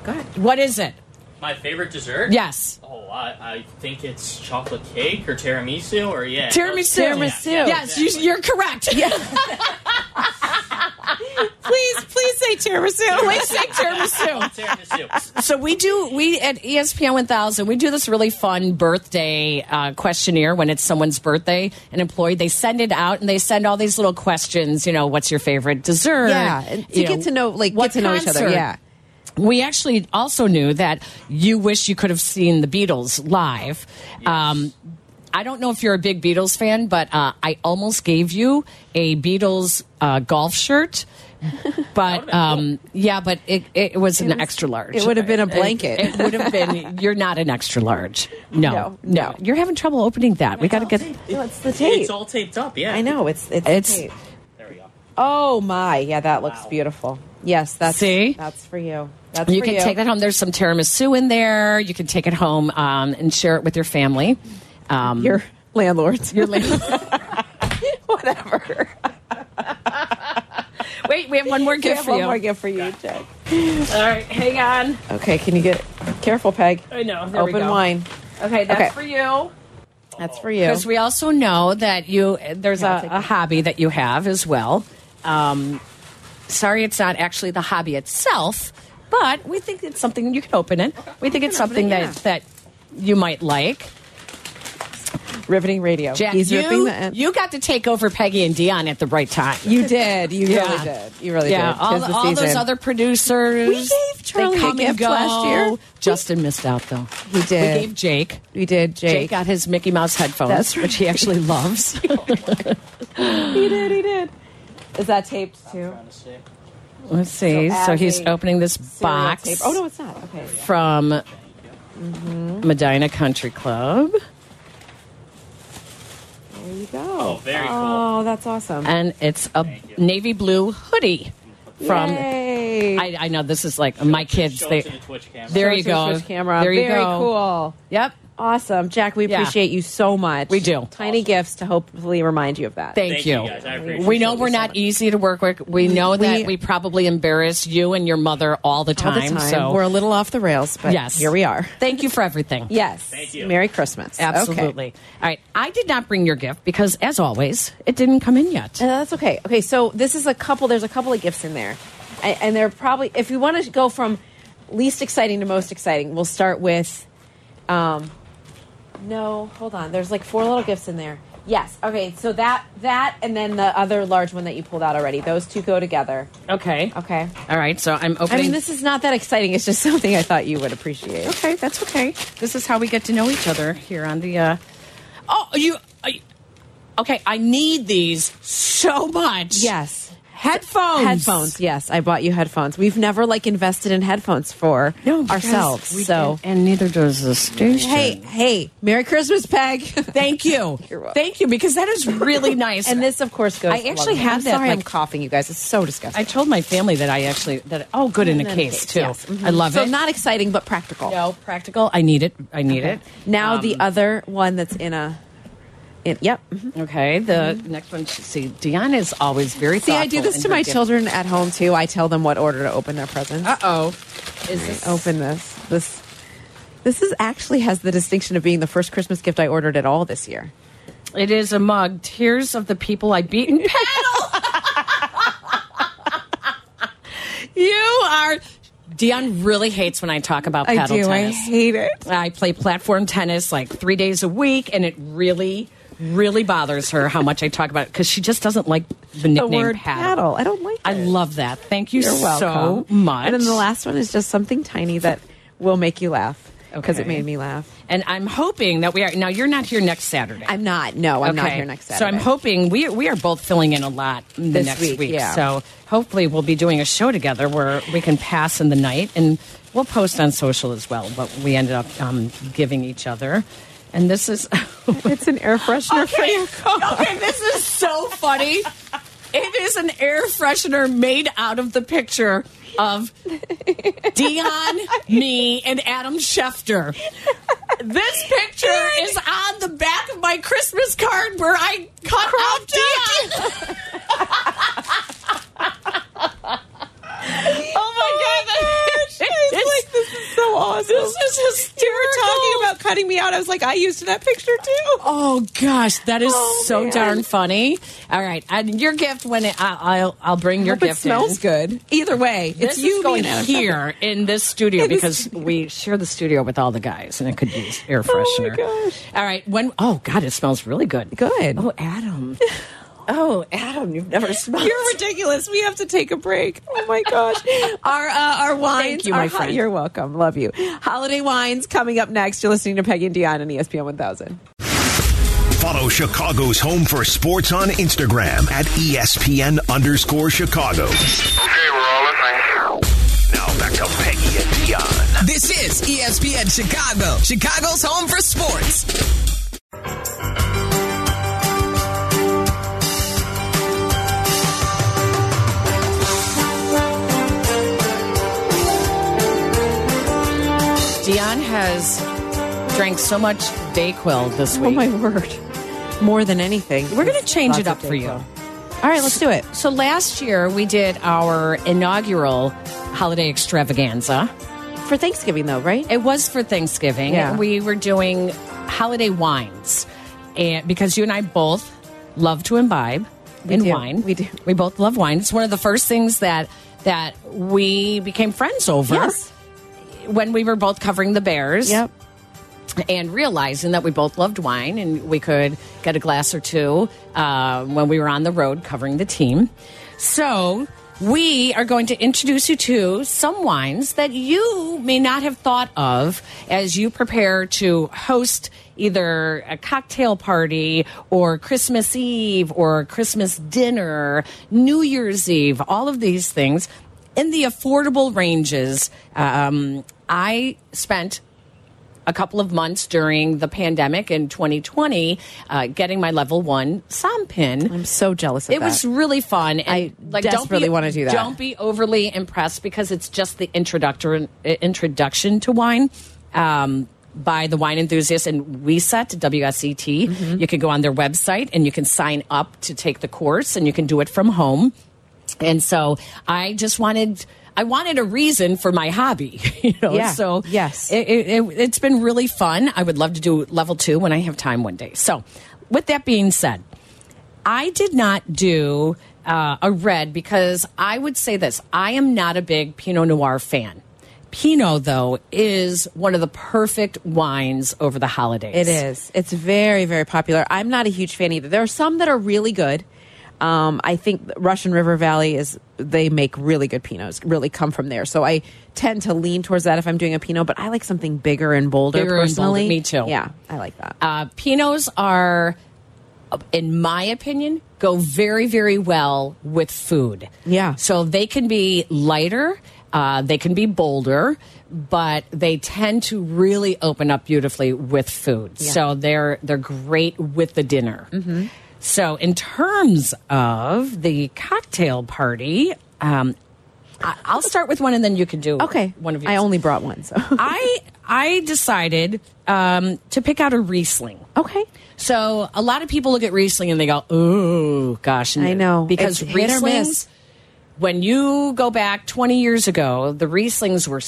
[SPEAKER 2] Go ahead.
[SPEAKER 4] What is it?
[SPEAKER 3] My favorite dessert?
[SPEAKER 4] Yes.
[SPEAKER 3] Oh, I, I think it's chocolate cake or tiramisu or yeah. Oh,
[SPEAKER 4] Tiramisu. Yes, you, you're correct.
[SPEAKER 2] please, please say tiramisu.
[SPEAKER 4] Please say tiramisu.
[SPEAKER 3] tiramisu.
[SPEAKER 4] So we do we at E ESPN 1000 we do this really fun birthday uh, questionnaire when it's someone's birthday an employee they send it out and they send all these little questions you know what's your favorite dessert
[SPEAKER 2] Yeah, and to
[SPEAKER 4] you
[SPEAKER 2] get to know- like,
[SPEAKER 4] what
[SPEAKER 2] get to know each other,
[SPEAKER 4] concert.
[SPEAKER 2] yeah.
[SPEAKER 4] We actually also knew that you wish you could have seen the Beatles live. Um, I don't know if you're a big Beatles fan, but uh, I almost gave you a Beatles uh, golf shirt. But um, yeah, but it, it was an extra large.
[SPEAKER 2] it would have been a blanket.
[SPEAKER 4] It, would have been. You're not an extra large. No, no,
[SPEAKER 2] No,
[SPEAKER 4] You're having trouble opening that. We got to get.
[SPEAKER 2] No, it's the tape.
[SPEAKER 3] It's all taped up, yeah.
[SPEAKER 2] I know. It's it's,
[SPEAKER 4] It's-
[SPEAKER 2] it's tape. Oh my. Yeah, that looks beautiful. Yes, that's
[SPEAKER 4] See?
[SPEAKER 2] that's for you. That's
[SPEAKER 4] You
[SPEAKER 2] for
[SPEAKER 4] can take that home. There's some tiramisu in there. You can take it home um, and share it with your family. Um,
[SPEAKER 2] your landlords.
[SPEAKER 4] your la-
[SPEAKER 2] whatever.
[SPEAKER 4] Wait, we have one more
[SPEAKER 2] We
[SPEAKER 4] gift
[SPEAKER 2] have
[SPEAKER 4] for
[SPEAKER 2] one
[SPEAKER 4] you.
[SPEAKER 2] more gift for you, Jack.
[SPEAKER 4] All right, hang on.
[SPEAKER 2] Okay, can you get careful, Peg?
[SPEAKER 4] I know. There we
[SPEAKER 2] Open
[SPEAKER 4] go.
[SPEAKER 2] wine.
[SPEAKER 4] Okay, that's
[SPEAKER 2] Okay.
[SPEAKER 4] for you.
[SPEAKER 2] That's for you.
[SPEAKER 4] Because we also know that you there's
[SPEAKER 2] Yeah, I'll
[SPEAKER 4] a,
[SPEAKER 2] take
[SPEAKER 4] a
[SPEAKER 2] it.
[SPEAKER 4] hobby that you have as well. Um, sorry, it's not actually the hobby itself, but we think it's something you can open it. We think it's
[SPEAKER 2] can open
[SPEAKER 4] something
[SPEAKER 2] it,
[SPEAKER 4] that that you might like.
[SPEAKER 2] riveting radio.
[SPEAKER 4] Jack,
[SPEAKER 2] He's ripping
[SPEAKER 4] you,
[SPEAKER 2] the end.
[SPEAKER 4] you got to take over Peggy and Dion at the right time.
[SPEAKER 2] You did. You
[SPEAKER 4] Yeah.
[SPEAKER 2] really did. You really
[SPEAKER 4] yeah,
[SPEAKER 2] did. 'Tis
[SPEAKER 4] all,
[SPEAKER 2] the
[SPEAKER 4] all those
[SPEAKER 2] season.
[SPEAKER 4] other producers.
[SPEAKER 2] We gave
[SPEAKER 4] they
[SPEAKER 2] Charlie a
[SPEAKER 4] come and
[SPEAKER 2] gift
[SPEAKER 4] go.
[SPEAKER 2] last year.
[SPEAKER 4] Justin missed out though.
[SPEAKER 2] He did.
[SPEAKER 4] We gave Jake.
[SPEAKER 2] We did,
[SPEAKER 4] Jake,
[SPEAKER 2] Jake.
[SPEAKER 4] got his Mickey Mouse headphones,
[SPEAKER 2] That's right.
[SPEAKER 4] which he actually loves.
[SPEAKER 2] he did. He did. Is that taped too?
[SPEAKER 4] Let's see. So,
[SPEAKER 2] So
[SPEAKER 4] he's
[SPEAKER 2] Abby,
[SPEAKER 4] opening this
[SPEAKER 2] Serial
[SPEAKER 4] box
[SPEAKER 2] tape. Oh no, Mm-hmm. it's not. Okay.
[SPEAKER 4] from Medina Country Club,
[SPEAKER 2] There you go.
[SPEAKER 3] Oh, very cool.
[SPEAKER 2] Oh, that's awesome.
[SPEAKER 4] and it's a navy blue hoodie from.
[SPEAKER 2] Yay.
[SPEAKER 4] I, I know this is like my kids.
[SPEAKER 3] Show
[SPEAKER 4] They,
[SPEAKER 3] it to the Twitch camera.
[SPEAKER 4] there
[SPEAKER 2] Show
[SPEAKER 4] you
[SPEAKER 2] us your
[SPEAKER 4] go.
[SPEAKER 2] switch Camera.
[SPEAKER 4] There you
[SPEAKER 2] Very
[SPEAKER 4] go.
[SPEAKER 2] cool.
[SPEAKER 4] Yep.
[SPEAKER 2] Awesome, Jack. We
[SPEAKER 4] Yeah.
[SPEAKER 2] appreciate you so much.
[SPEAKER 4] We do.
[SPEAKER 2] Tiny gifts to hopefully remind you of that.
[SPEAKER 4] Thank,
[SPEAKER 3] Thank
[SPEAKER 4] you.
[SPEAKER 3] you guys. I appreciate
[SPEAKER 4] we know
[SPEAKER 2] you
[SPEAKER 4] we're
[SPEAKER 2] so
[SPEAKER 4] not
[SPEAKER 2] much.
[SPEAKER 4] easy to work with. We know that we probably embarrass you and your mother all the
[SPEAKER 2] All
[SPEAKER 4] time.
[SPEAKER 2] the time.
[SPEAKER 4] So
[SPEAKER 2] We're a little off the rails, but
[SPEAKER 4] Yes.
[SPEAKER 2] here we are.
[SPEAKER 4] thank you for everything.
[SPEAKER 2] Yes.
[SPEAKER 3] Thank you.
[SPEAKER 2] Merry Christmas. Okay.
[SPEAKER 4] Absolutely. All right. I did not bring your gift because, as always, it didn't come in yet.
[SPEAKER 2] Uh, that's okay. Okay, so this is a couple. There's a couple of gifts in there, and, and they're probably if you want to go from least exciting to most exciting, we'll start with. Um, no, hold on. There's like four little gifts in there. Yes. Okay. So that that and then the other large one that you pulled out already. Those two go together.
[SPEAKER 4] Uh, Okay.
[SPEAKER 2] Okay.
[SPEAKER 4] All right. So I'm opening.
[SPEAKER 2] I mean, this is not that exciting. It's just something I thought you would appreciate.
[SPEAKER 4] Okay, that's okay. This is how we get to know each other here on the. Uh... Oh, you. I... Okay, I need these so much.
[SPEAKER 2] Yes. Headphones. Headphones. Yes, I bought you headphones. We've never like invested in headphones for ourselves.
[SPEAKER 4] we
[SPEAKER 2] so
[SPEAKER 4] and neither does the station.
[SPEAKER 2] Hey, hey, Merry Christmas, Peg.
[SPEAKER 4] Thank you. Thank you, because that is really nice.
[SPEAKER 2] And this, of course, goes.
[SPEAKER 4] I actually
[SPEAKER 2] had
[SPEAKER 4] had that,
[SPEAKER 2] Sorry, I'm
[SPEAKER 4] like-
[SPEAKER 2] coughing, you guys. It's so disgusting.
[SPEAKER 4] I told my family that I actually that oh, good in a
[SPEAKER 2] And then
[SPEAKER 4] case mm-hmm. too.
[SPEAKER 2] yes. Mhm.
[SPEAKER 4] I love
[SPEAKER 2] so
[SPEAKER 4] it.
[SPEAKER 2] not exciting, but practical.
[SPEAKER 4] No, practical. I need it. I need it.
[SPEAKER 2] Now
[SPEAKER 4] Um,
[SPEAKER 2] the other one that's in a. In, yep. mm-hmm.
[SPEAKER 4] Okay. The next one. See, Deanna is always very.
[SPEAKER 2] See, I do
[SPEAKER 4] thoughtful
[SPEAKER 2] this
[SPEAKER 4] in
[SPEAKER 2] to
[SPEAKER 4] her
[SPEAKER 2] my
[SPEAKER 4] gift.
[SPEAKER 2] children at home too. I tell them what order to open their presents. Uh
[SPEAKER 4] oh, is this
[SPEAKER 2] open this? This this is actually has the distinction of being the first Christmas gift I ordered at all this year.
[SPEAKER 4] It is a mug. Tears of the people I beat in battle. you are. Dion really hates when I talk about
[SPEAKER 2] I
[SPEAKER 4] paddle
[SPEAKER 2] do. I
[SPEAKER 4] tennis.
[SPEAKER 2] hate it.
[SPEAKER 4] I play platform tennis like three days a week, and it really, really bothers her how much I talk about it because she just doesn't like the nickname
[SPEAKER 2] word paddle. I don't like.
[SPEAKER 4] I love that. Thank you
[SPEAKER 2] You're
[SPEAKER 4] so
[SPEAKER 2] welcome.
[SPEAKER 4] much.
[SPEAKER 2] And then the last one is just something tiny that will make you laugh because it
[SPEAKER 4] Okay.
[SPEAKER 2] made me laugh.
[SPEAKER 4] And I'm hoping that we are now. You're not here next Saturday.
[SPEAKER 2] I'm not. No, I'm not
[SPEAKER 4] Okay.
[SPEAKER 2] here next
[SPEAKER 4] So I'm
[SPEAKER 2] Saturday.
[SPEAKER 4] hoping we we are both filling in a lot the
[SPEAKER 2] This
[SPEAKER 4] next
[SPEAKER 2] week,
[SPEAKER 4] week.
[SPEAKER 2] yeah.
[SPEAKER 4] So hopefully we'll be doing a show together where we can pass in the night and we'll post on social as well what we ended up um, giving each other. And this is
[SPEAKER 2] it's an air freshener for your
[SPEAKER 4] car. Okay, this is so funny. it is an air freshener made out of the picture of Dion, me, and Adam Schefter. This picture is on the back of my Christmas card where I cut out Dion. oh my god! It's like this is so awesome. This is hysterical.
[SPEAKER 2] talking about cutting me out. I was like, I used that picture too.
[SPEAKER 4] Oh gosh, that is
[SPEAKER 2] Oh,
[SPEAKER 4] so
[SPEAKER 2] man.
[SPEAKER 4] darn funny. All right, and your gift when it, I, I'll I'll bring your
[SPEAKER 2] Hope it
[SPEAKER 4] gift.
[SPEAKER 2] smells good. Either way,
[SPEAKER 4] This
[SPEAKER 2] it's
[SPEAKER 4] is
[SPEAKER 2] you me,
[SPEAKER 4] going
[SPEAKER 2] and Adam.
[SPEAKER 4] here in this studio
[SPEAKER 2] In the
[SPEAKER 4] because we share the studio with all the guys, and it could use
[SPEAKER 2] Oh,
[SPEAKER 4] air freshener. All right, when oh god, it smells really good.
[SPEAKER 2] Good.
[SPEAKER 4] Oh Adam. Oh, Adam, you've never smelled.
[SPEAKER 2] You're ridiculous. We have to take a break. Oh my gosh. Our uh, our wines.
[SPEAKER 4] Thank you,
[SPEAKER 2] our
[SPEAKER 4] my
[SPEAKER 2] ho-
[SPEAKER 4] friend.
[SPEAKER 2] You're welcome. Love you. Holiday wines coming up next. You're listening to Peggy and Dion on E ESPN 1000.
[SPEAKER 1] Follow Chicago's home for sports on Instagram at E ESPN underscore Chicago.
[SPEAKER 14] Okay, we're all listening.
[SPEAKER 1] Now back to Peggy and Dion.
[SPEAKER 15] This is ESPN Chicago, Chicago's home for sports.
[SPEAKER 4] Dion has drank so much Dayquil this
[SPEAKER 2] Oh
[SPEAKER 4] week.
[SPEAKER 2] my word. More than anything.
[SPEAKER 4] We're going to change
[SPEAKER 2] Lots
[SPEAKER 4] it
[SPEAKER 2] of
[SPEAKER 4] up for you.
[SPEAKER 2] Dayquil.
[SPEAKER 4] All right, let's do it. So last year we did our inaugural holiday extravaganza
[SPEAKER 2] for Thanksgiving, though, right?
[SPEAKER 4] It was for Thanksgiving.
[SPEAKER 2] Yeah.
[SPEAKER 4] We were doing holiday wines, and because you and I both love to imbibe
[SPEAKER 2] We
[SPEAKER 4] in
[SPEAKER 2] do.
[SPEAKER 4] wine, we do. We both love wine. It's one of the first things that that we became friends over
[SPEAKER 2] Yes.
[SPEAKER 4] when we were both covering the Bears.
[SPEAKER 2] Yep.
[SPEAKER 4] And realizing that we both loved wine and we could get a glass or two uh, when we were on the road covering the team. So, we are going to introduce you to some wines that you may not have thought of as you prepare to host either a cocktail party or Christmas Eve or Christmas dinner, New Year's Eve, all of these things in the affordable ranges. Um, I spent a couple of months during the pandemic in 2020 uh, getting my level one SOM pin.
[SPEAKER 2] I'm so jealous of
[SPEAKER 4] It
[SPEAKER 2] that.
[SPEAKER 4] was really fun. And
[SPEAKER 2] I desperately
[SPEAKER 4] don't be,
[SPEAKER 2] wanna do that.
[SPEAKER 4] Don't be overly impressed because it's just the introductor introduction to wine. Um, by the wine enthusiast and WESET, W S E T.
[SPEAKER 2] Mm-hmm.
[SPEAKER 4] You can go on their website and you can sign up to take the course and you can do it from home. And so I just wanted I wanted a reason for my hobby, you know.
[SPEAKER 2] Yeah.
[SPEAKER 4] So
[SPEAKER 2] Yes.
[SPEAKER 4] it, it, it, it's been really fun. I would love to do level two when I have time one day. So, with that being said, I did not do uh, a red because I would say this I am not a big Pinot Noir fan. Pinot, though, is one of the perfect wines over the
[SPEAKER 2] It
[SPEAKER 4] holidays.
[SPEAKER 2] is. It's very, very popular. I'm not a huge fan either. There are some that are really good. Um, I think Russian River Valley is they make really good pinots, really come from there. So I tend to lean towards that if I'm doing a pinot, but I like something bigger and bolder
[SPEAKER 4] Bigger and bolder,
[SPEAKER 2] personally.
[SPEAKER 4] me too.
[SPEAKER 2] Yeah, I like that.
[SPEAKER 4] Uh, Pinots are, in my opinion, go very, very well with food.
[SPEAKER 2] Yeah.
[SPEAKER 4] So they can be lighter, uh, they can be bolder, but they tend to really open up beautifully with food.
[SPEAKER 2] Yeah.
[SPEAKER 4] So they're they're great with the dinner.
[SPEAKER 2] Mhm.
[SPEAKER 4] So in terms of the cocktail party. Um, I- I'll start with one, and then you can do okay. One of yours. I only
[SPEAKER 2] brought one, so
[SPEAKER 4] I I decided um, to pick out a Riesling.
[SPEAKER 2] Okay,
[SPEAKER 4] so a lot of people look at Riesling and they go, "Ooh, gosh!" and-
[SPEAKER 2] I know.
[SPEAKER 4] because
[SPEAKER 2] It's
[SPEAKER 4] Riesling.
[SPEAKER 2] hit or miss.
[SPEAKER 4] When you go back 20 years ago, the Rieslings were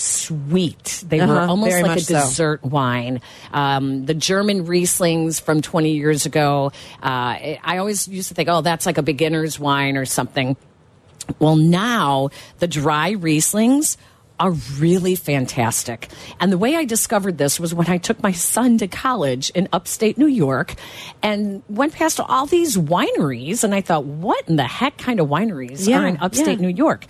[SPEAKER 4] sweet. They were
[SPEAKER 2] Uh-huh,
[SPEAKER 4] almost
[SPEAKER 2] very
[SPEAKER 4] like a
[SPEAKER 2] much so.
[SPEAKER 4] dessert wine. Um, the German Rieslings from 20 years ago, uh, I always used to think, oh, that's like a beginner's wine or something. Well, now the dry Rieslings are really fantastic. And the way I discovered this was when I took my son to college in upstate New York and went past all these wineries. And I thought, what in the heck kind of wineries
[SPEAKER 2] Yeah,
[SPEAKER 4] are in upstate
[SPEAKER 2] yeah.
[SPEAKER 4] New York?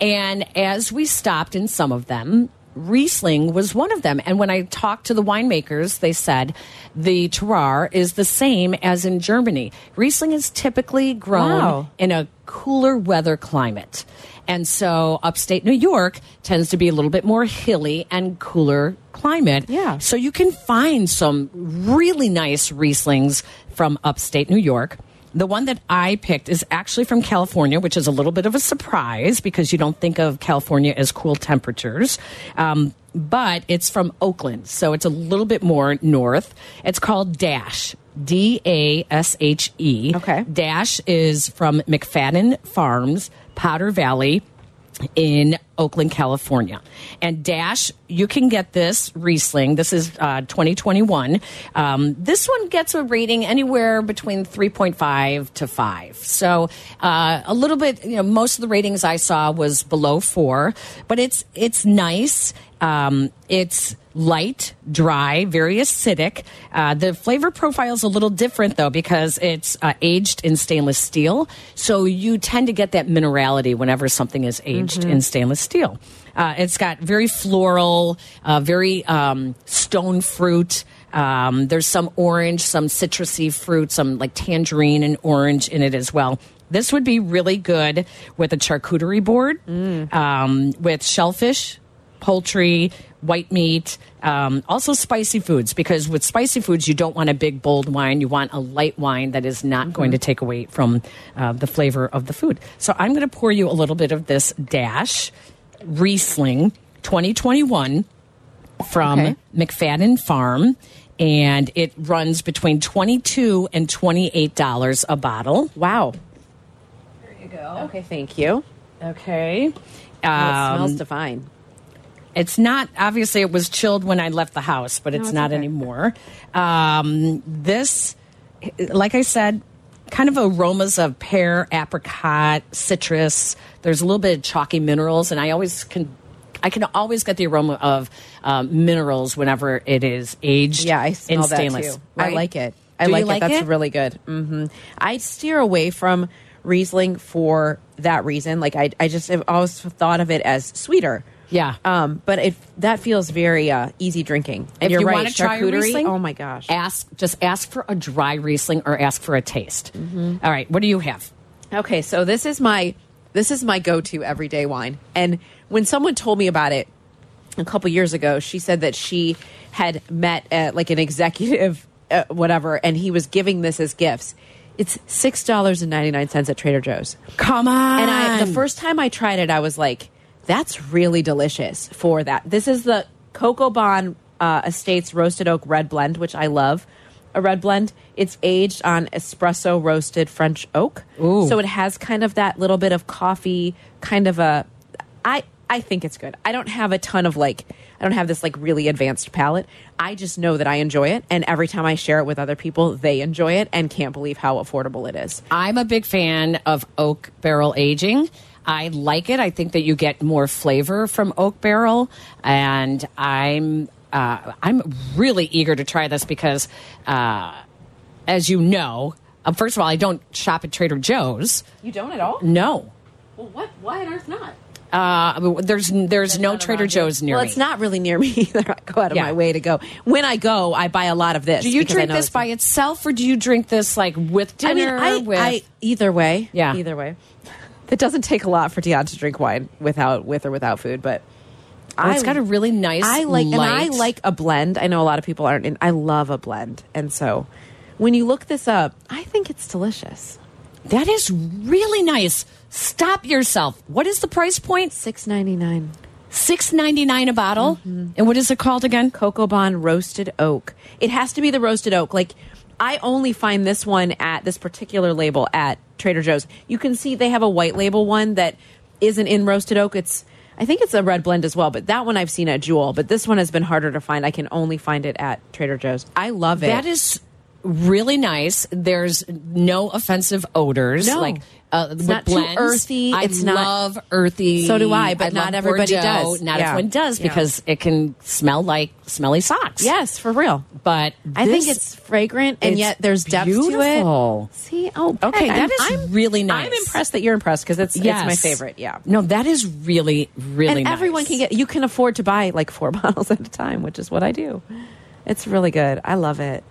[SPEAKER 4] And as we stopped in some of them, Riesling was one of them. And when I talked to the winemakers, they said the terroir is the same as in Germany. Riesling is typically grown
[SPEAKER 2] Wow.
[SPEAKER 4] in a cooler weather climate. And so upstate New York tends to be a little bit more hilly and cooler climate. Yeah. So you can find some really nice Rieslings from upstate New York. The one that I picked is actually from California, which is a little bit of a surprise because you don't think of California as cool temperatures. Um, but it's from Oakland, so it's a little bit more north. It's called Dash. D A S H E. Okay. Dash is from McFadden Farms, Powder Valley in Oakland, California. And Dash, you can get this Riesling. This is uh, 2021. Um, this one gets a rating anywhere between 3.5 to 5. So uh, a little bit, you know, most of the ratings I saw was below 4, but it's it's nice. Um, it's light, dry, very acidic. Uh, the flavor profile is a little different though because it's uh, aged in stainless steel. So you tend to get that minerality whenever something is aged
[SPEAKER 2] Mhm.
[SPEAKER 4] in stainless steel. Uh, it's got very floral, uh, very um, stone fruit. Um, there's some orange, some citrusy fruit, some like tangerine and orange in it as well. This would be really good with a charcuterie board, um, with shellfish, poultry, white meat, um, also spicy foods, because with spicy foods, you don't want a big, bold wine. You want a light wine that is not going to take away from uh, the flavor of the food. So I'm going to pour you a little bit of this Dash Riesling 2021 from
[SPEAKER 2] Okay.
[SPEAKER 4] McFadden Farm. And it runs between twenty-two and twenty-eight dollars a bottle. Wow!
[SPEAKER 2] There you go. Okay, thank you.
[SPEAKER 4] Okay.
[SPEAKER 2] Oh, it
[SPEAKER 4] Um,
[SPEAKER 2] smells divine.
[SPEAKER 4] It's not obviously it was chilled when I left the house, but
[SPEAKER 2] No,
[SPEAKER 4] it's,
[SPEAKER 2] it's
[SPEAKER 4] not
[SPEAKER 2] okay.
[SPEAKER 4] anymore. Um, this, like I said, kind of aromas of pear, apricot, citrus. There's a little bit of chalky minerals, and I always can. I can always get the aroma of um, minerals whenever it is aged. Yeah, I
[SPEAKER 2] smell
[SPEAKER 4] in
[SPEAKER 2] that,
[SPEAKER 4] stainless.
[SPEAKER 2] too. I
[SPEAKER 4] right?
[SPEAKER 2] like it. I
[SPEAKER 4] Do you
[SPEAKER 2] like, it. That's
[SPEAKER 4] it?
[SPEAKER 2] really good. hmm I steer away from Riesling for that reason. Like I, I just have always thought of it as sweeter.
[SPEAKER 4] Yeah.
[SPEAKER 2] Um, but it that feels very uh, easy drinking. And
[SPEAKER 4] if
[SPEAKER 2] you're
[SPEAKER 4] you
[SPEAKER 2] right,
[SPEAKER 4] want to try a
[SPEAKER 2] charcuterie,
[SPEAKER 4] Riesling,
[SPEAKER 2] oh my gosh.
[SPEAKER 4] Ask just ask for a dry Riesling or ask for a taste.
[SPEAKER 2] Mm-hmm.
[SPEAKER 4] All right, what do you have?
[SPEAKER 2] Okay, so this is my this is my go-to everyday wine. And when someone told me about it a couple years ago, she said that she had met uh, like an executive uh, whatever and he was giving this as gifts. It's $6.99 at Trader Joe's.
[SPEAKER 4] Come on.
[SPEAKER 2] And I the first time I tried it I was like, that's really delicious for that. This is the Cocoa Bond uh, Estates Roasted Oak Red Blend, which I love. A red blend. It's aged on espresso roasted French oak.
[SPEAKER 4] Ooh.
[SPEAKER 2] So it has kind of that little bit of coffee, kind of a I I think it's good. I don't have a ton of like I don't have this like really advanced palate. I just know that I enjoy it and every time I share it with other people, they enjoy it and can't believe how affordable it is.
[SPEAKER 4] I'm a big fan of oak barrel aging. I like it. I think that you get more flavor from oak barrel, and I'm uh, I'm really eager to try this because, uh, as you know, uh, first of all, I don't shop at Trader Joe's.
[SPEAKER 2] You don't at all?
[SPEAKER 4] No,
[SPEAKER 2] Well, what? Why on earth not?
[SPEAKER 4] Uh, there's there's no Trader Joe's near
[SPEAKER 2] well,
[SPEAKER 4] me.
[SPEAKER 2] it's not really near me either. I go out of
[SPEAKER 4] Yeah.
[SPEAKER 2] my way to go. When I go, I buy a lot of this.
[SPEAKER 4] Do you
[SPEAKER 2] because I
[SPEAKER 4] drink
[SPEAKER 2] know
[SPEAKER 4] this
[SPEAKER 2] it's-
[SPEAKER 4] by itself, or do you drink this like with
[SPEAKER 2] I mean,
[SPEAKER 4] dinner?
[SPEAKER 2] I-
[SPEAKER 4] with
[SPEAKER 2] I- either way.
[SPEAKER 4] Yeah.
[SPEAKER 2] Either way. It doesn't take a lot for Dion to drink wine without with or without food, but
[SPEAKER 4] Oh, it's got a really nice
[SPEAKER 2] I like and I
[SPEAKER 4] light-
[SPEAKER 2] like a blend. I know a lot of people aren't in I love a blend. And so when you look this up, I think it's delicious.
[SPEAKER 4] That is really nice. Stop yourself. What is the price point?
[SPEAKER 2] Six ninety nine.
[SPEAKER 4] Six ninety nine a bottle.
[SPEAKER 2] Mm-hmm.
[SPEAKER 4] And what is it called again?
[SPEAKER 2] Cocoa Bond Roasted Oak. It has to be the roasted oak. Like I only find this one at this particular label at Trader Joe's. You can see they have a white label one that isn't in roasted oak. It's I think it's a red blend as well, but that one I've seen at Jewel, but this one has been harder to find. I can only find it at Trader Joe's. I love it.
[SPEAKER 4] That is really nice. There's no offensive odors.
[SPEAKER 2] No.
[SPEAKER 4] Like uh,
[SPEAKER 2] It's
[SPEAKER 4] with
[SPEAKER 2] not too
[SPEAKER 4] blends.
[SPEAKER 2] earthy.
[SPEAKER 4] I
[SPEAKER 2] It's not-
[SPEAKER 4] love earthy.
[SPEAKER 2] So do I, but
[SPEAKER 4] love
[SPEAKER 2] not everybody
[SPEAKER 4] Bordeaux.
[SPEAKER 2] does.
[SPEAKER 4] Not
[SPEAKER 2] Yeah.
[SPEAKER 4] everyone does
[SPEAKER 2] Yeah.
[SPEAKER 4] because it can smell like smelly socks.
[SPEAKER 2] Yes, for real.
[SPEAKER 4] But
[SPEAKER 2] I think
[SPEAKER 4] this-
[SPEAKER 2] it's fragrant and
[SPEAKER 4] it's
[SPEAKER 2] yet there's depth
[SPEAKER 4] beautiful.
[SPEAKER 2] to it. See, oh,
[SPEAKER 4] Okay,
[SPEAKER 2] Peg,
[SPEAKER 4] that
[SPEAKER 2] I'm-
[SPEAKER 4] is
[SPEAKER 2] I'm-
[SPEAKER 4] really nice.
[SPEAKER 2] I'm impressed that you're impressed because it's
[SPEAKER 4] Yes.
[SPEAKER 2] it's my favorite. Yeah.
[SPEAKER 4] No, that is really, really
[SPEAKER 2] and
[SPEAKER 4] nice.
[SPEAKER 2] everyone can get you can afford to buy like four bottles at a time which is what i do it's really good i love it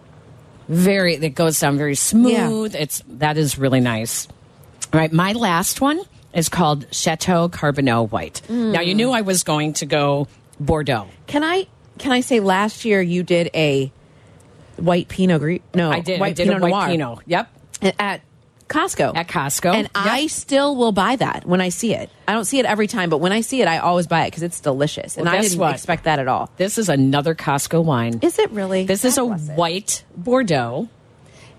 [SPEAKER 4] very it goes down very smooth it's that is really nice all right my last one is called chateau carbonneau white now you knew i was going to go bordeaux
[SPEAKER 2] can i can i say last year you did a white pinot gris no
[SPEAKER 4] i did
[SPEAKER 2] white
[SPEAKER 4] i did
[SPEAKER 2] pinot
[SPEAKER 4] a white
[SPEAKER 2] noir
[SPEAKER 4] pinot yep
[SPEAKER 2] at costco
[SPEAKER 4] at costco
[SPEAKER 2] and i still will buy that when i see it i don't see it every time but when i see it i always buy it because it's delicious and
[SPEAKER 4] Well,
[SPEAKER 2] i
[SPEAKER 4] guess
[SPEAKER 2] didn't
[SPEAKER 4] what?
[SPEAKER 2] expect that at all
[SPEAKER 4] this is another costco wine
[SPEAKER 2] is it really
[SPEAKER 4] This is
[SPEAKER 2] God
[SPEAKER 4] a
[SPEAKER 2] bless it.
[SPEAKER 4] white Bordeaux.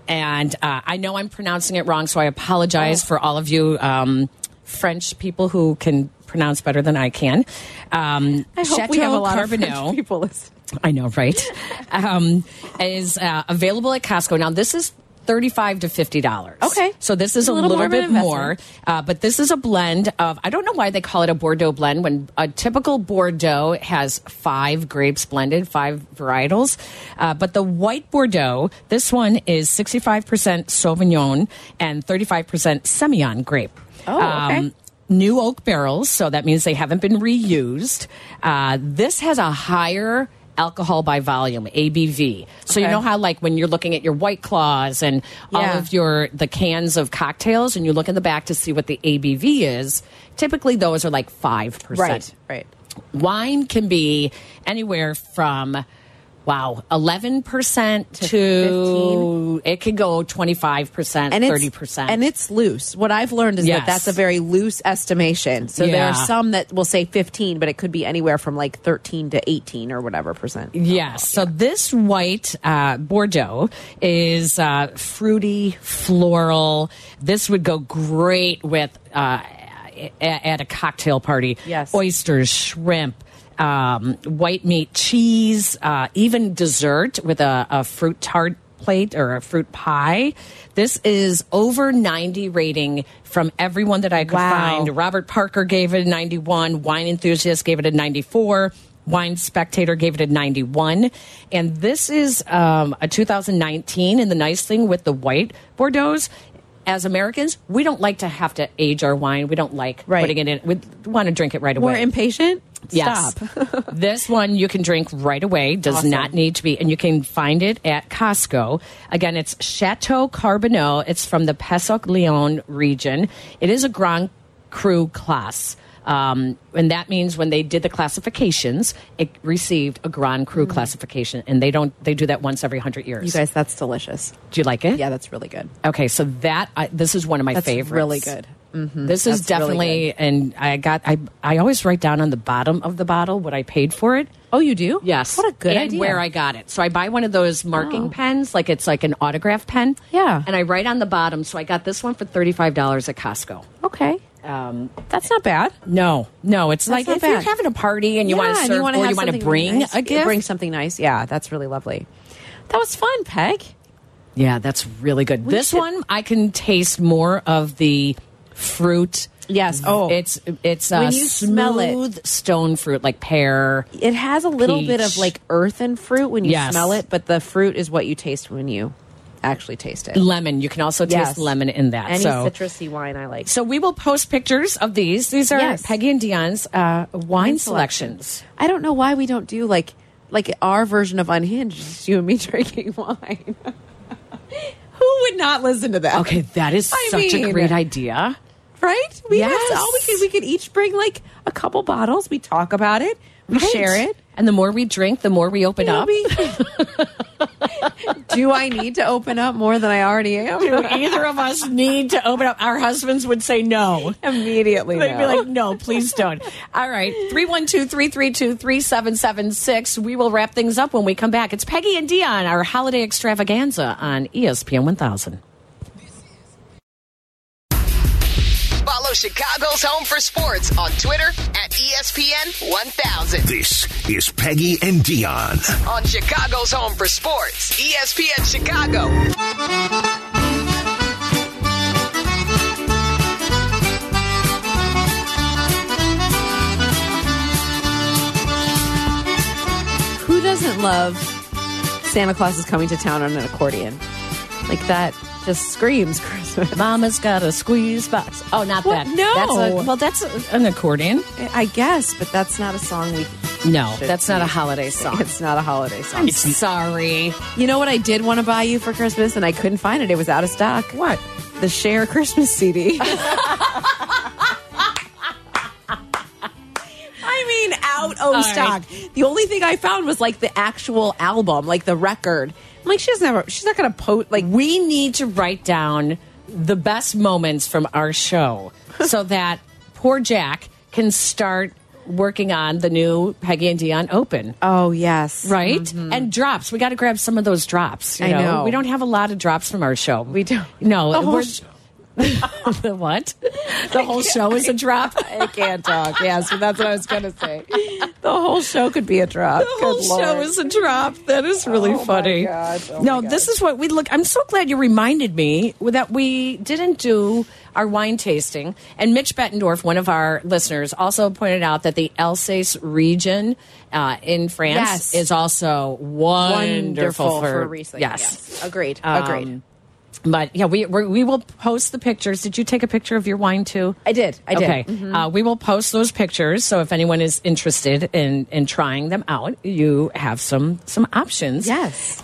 [SPEAKER 4] And uh, I know I'm pronouncing it wrong, so I
[SPEAKER 2] Oh.
[SPEAKER 4] apologize for all of you um, French people who can pronounce better than I can. Um,
[SPEAKER 2] I hope we have a lot of
[SPEAKER 4] Carbonneau.
[SPEAKER 2] French people listening.
[SPEAKER 4] I know, right? um, is uh, available at Costco. Now, this is thirty-five to fifty dollars.
[SPEAKER 2] Okay.
[SPEAKER 4] so this is
[SPEAKER 2] It's
[SPEAKER 4] a, little,
[SPEAKER 2] of an
[SPEAKER 4] bit more,
[SPEAKER 2] investment.
[SPEAKER 4] uh, but this is a blend of. I don't know why they call it a Bordeaux blend when a typical Bordeaux has five grapes blended, five varietals. Uh, but the white Bordeaux, this one is sixty-five percent Sauvignon and thirty-five percent Semillon grape. Um,
[SPEAKER 2] Oh, okay.
[SPEAKER 4] new oak barrels, so that means they haven't been reused. Uh, this has a higher alcohol by volume ABV. So you
[SPEAKER 2] Okay.
[SPEAKER 4] know how like when you're looking at your white claws and all
[SPEAKER 2] Yeah.
[SPEAKER 4] of your the cans of cocktails and you look in the back to see what the ABV is, typically those are like 5%.
[SPEAKER 2] right right
[SPEAKER 4] Wine can be anywhere from wow, 11% to,
[SPEAKER 2] 15.
[SPEAKER 4] it could go 25%,
[SPEAKER 2] and it's,
[SPEAKER 4] 30%.
[SPEAKER 2] And it's loose. What I've learned is
[SPEAKER 4] Yes.
[SPEAKER 2] that that's a very loose estimation. So there
[SPEAKER 4] Yeah.
[SPEAKER 2] are some that will say 15, but it could be anywhere from like 13 to 18 or whatever percent.
[SPEAKER 4] Yes. So this white uh, Bordeaux is uh, fruity, floral. This would go great with uh, a- at a cocktail party.
[SPEAKER 2] Yes.
[SPEAKER 4] Oysters, shrimp. Um, white meat, cheese, uh, even dessert with a, a fruit tart plate or a fruit pie. This is over 90 rating from everyone that I could
[SPEAKER 2] Wow.
[SPEAKER 4] find. Robert Parker gave it a 91. Wine Enthusiast gave it a 94. Wine Spectator gave it a 91. And this is um, a 2019. And the nice thing with the white Bordeaux's, as Americans, we don't like to have to age our wine. We don't like
[SPEAKER 2] Right.
[SPEAKER 4] putting it in. We want to drink it right away.
[SPEAKER 2] We're impatient?
[SPEAKER 4] Yes.
[SPEAKER 2] Stop.
[SPEAKER 4] this one you can drink right away. Does
[SPEAKER 2] Awesome.
[SPEAKER 4] not need to be, and you can find it at Costco. Again, it's Chateau Carbonneau. It's from the Pesoc Leon region. It is a Grand Cru class. Um, and that means when they did the classifications, it received a Grand Cru classification, and they don't they do that once every hundred years.
[SPEAKER 2] Mm. You guys, that's delicious.
[SPEAKER 4] do you like it?
[SPEAKER 2] Yeah, that's really good.
[SPEAKER 4] Okay, so that I, this is one of my
[SPEAKER 2] That's
[SPEAKER 4] favorites.
[SPEAKER 2] really good. Mhm.
[SPEAKER 4] This is
[SPEAKER 2] That's really
[SPEAKER 4] definitely, and I got I I always write down on the bottom of the bottle what I paid for it.
[SPEAKER 2] Oh, you do?
[SPEAKER 4] Yes,
[SPEAKER 2] What a good
[SPEAKER 4] and
[SPEAKER 2] idea.
[SPEAKER 4] Where I got it, so I buy one of those marking
[SPEAKER 2] Oh.
[SPEAKER 4] pens, like it's like an autograph pen.
[SPEAKER 2] Yeah.
[SPEAKER 4] and I write on the bottom. So I got this one for thirty five dollars at Costco.
[SPEAKER 2] Okay.
[SPEAKER 4] Um,
[SPEAKER 2] That's not bad.
[SPEAKER 4] no, no, it's like
[SPEAKER 2] not
[SPEAKER 4] if you're
[SPEAKER 2] bad.
[SPEAKER 4] having a party and you
[SPEAKER 2] Yeah,
[SPEAKER 4] want to serve
[SPEAKER 2] wanna
[SPEAKER 4] or
[SPEAKER 2] have
[SPEAKER 4] you want to
[SPEAKER 2] something
[SPEAKER 4] bring
[SPEAKER 2] nice.
[SPEAKER 4] a gift,
[SPEAKER 2] Bring something nice. Yeah, that's really lovely. That was fun, Peg.
[SPEAKER 4] Yeah, that's really good.
[SPEAKER 2] We
[SPEAKER 4] this
[SPEAKER 2] should-
[SPEAKER 4] one I can taste more of the fruit.
[SPEAKER 2] Yes. Oh.
[SPEAKER 4] it's it's
[SPEAKER 2] When
[SPEAKER 4] uh,
[SPEAKER 2] you smell it-
[SPEAKER 4] smooth stone fruit like pear.
[SPEAKER 2] It has a little bit of
[SPEAKER 4] Peach.
[SPEAKER 2] like earth and fruit when you
[SPEAKER 4] Yes.
[SPEAKER 2] smell it, but the fruit is what you taste when you actually taste it.
[SPEAKER 4] Lemon. You can also taste
[SPEAKER 2] Yes.
[SPEAKER 4] lemon in that.
[SPEAKER 2] Any
[SPEAKER 4] so.
[SPEAKER 2] citrusy wine I like.
[SPEAKER 4] so we will post pictures of these. These are
[SPEAKER 2] Yes.
[SPEAKER 4] Peggy and Dion's uh, wine
[SPEAKER 2] Wine
[SPEAKER 4] selections.
[SPEAKER 2] I don't know why we don't do like like our version of Unhinged, just you and me drinking wine. Who would not listen to that?
[SPEAKER 4] Okay, that is
[SPEAKER 2] I
[SPEAKER 4] such a
[SPEAKER 2] mean-
[SPEAKER 4] great idea.
[SPEAKER 2] right? We
[SPEAKER 4] Yes.
[SPEAKER 2] have all we could we could each bring like a couple bottles. We talk about it. We
[SPEAKER 4] Right.
[SPEAKER 2] share it.
[SPEAKER 4] And the more we drink, the more we open
[SPEAKER 2] You know,
[SPEAKER 4] up.
[SPEAKER 2] we- do I need to open up more than I already am?
[SPEAKER 4] Do either of us need to open up? Our husbands would say no.
[SPEAKER 2] Immediately,
[SPEAKER 4] They'd be
[SPEAKER 2] no.
[SPEAKER 4] like, no, please don't. All right. 312 332 3776. We will wrap things up when we come back. It's Peggy and Dion, our holiday extravaganza on E ESPN 1000.
[SPEAKER 15] Follow Chicago's Home for Sports on Twitter at E ESPN 1000.
[SPEAKER 1] This is Peggy and Dion.
[SPEAKER 15] On Chicago's Home for Sports, E ESPN Chicago.
[SPEAKER 2] Who doesn't love Santa Claus is coming to town on an accordion? Like that just screams Christmas.
[SPEAKER 4] Mama's got a squeeze box. Oh, not
[SPEAKER 2] What?
[SPEAKER 4] that.
[SPEAKER 2] No.
[SPEAKER 4] That's a, well, that's a- an accordion.
[SPEAKER 2] I guess, but that's not a song we.
[SPEAKER 4] No,
[SPEAKER 2] should
[SPEAKER 4] that's not a
[SPEAKER 2] use.
[SPEAKER 4] holiday song.
[SPEAKER 2] It's not a holiday song.
[SPEAKER 4] I'm sorry.
[SPEAKER 2] You know what I did want to buy you for Christmas and I couldn't find it. It was out of stock. What? The Share Christmas CD. I mean, out of
[SPEAKER 4] All
[SPEAKER 2] stock. The only thing I found was like the actual album, like the record. I'm like, she doesn't have. A, she's not going to post like.
[SPEAKER 4] We need to write down the best moments from our show so that poor Jack can start working on the new Peggy and Dion Open.
[SPEAKER 2] Oh yes,
[SPEAKER 4] Right? And drops. We got to grab some of those drops. You
[SPEAKER 2] I know.
[SPEAKER 4] We don't have a lot of drops from our show. We
[SPEAKER 2] don't.
[SPEAKER 4] No.
[SPEAKER 2] The whole
[SPEAKER 4] we're-
[SPEAKER 2] show.
[SPEAKER 4] the what? The whole show is a drop?
[SPEAKER 2] I can't talk. Yes, but that's what I was going to say. The whole show could be a drop.
[SPEAKER 4] The whole show is a drop. That is really funny. no, this is what we look. I'm so glad you reminded me that we didn't do our wine tasting. And Mitch Bettendorf, one of our listeners, also pointed out that the Alsace region uh, in France
[SPEAKER 2] Yes.
[SPEAKER 4] is also wonderful,
[SPEAKER 2] wonderful
[SPEAKER 4] for,
[SPEAKER 2] for Riesling.
[SPEAKER 4] Yes.
[SPEAKER 2] agreed.
[SPEAKER 4] Um,
[SPEAKER 2] agreed.
[SPEAKER 4] But yeah, we we're, we will post the pictures. Did you take a picture of your wine too?
[SPEAKER 2] I did. I did. Mm-hmm.
[SPEAKER 4] Okay, uh, we will post those pictures. So if anyone is interested in in trying them out, you have some some options. Oh,
[SPEAKER 2] Yes.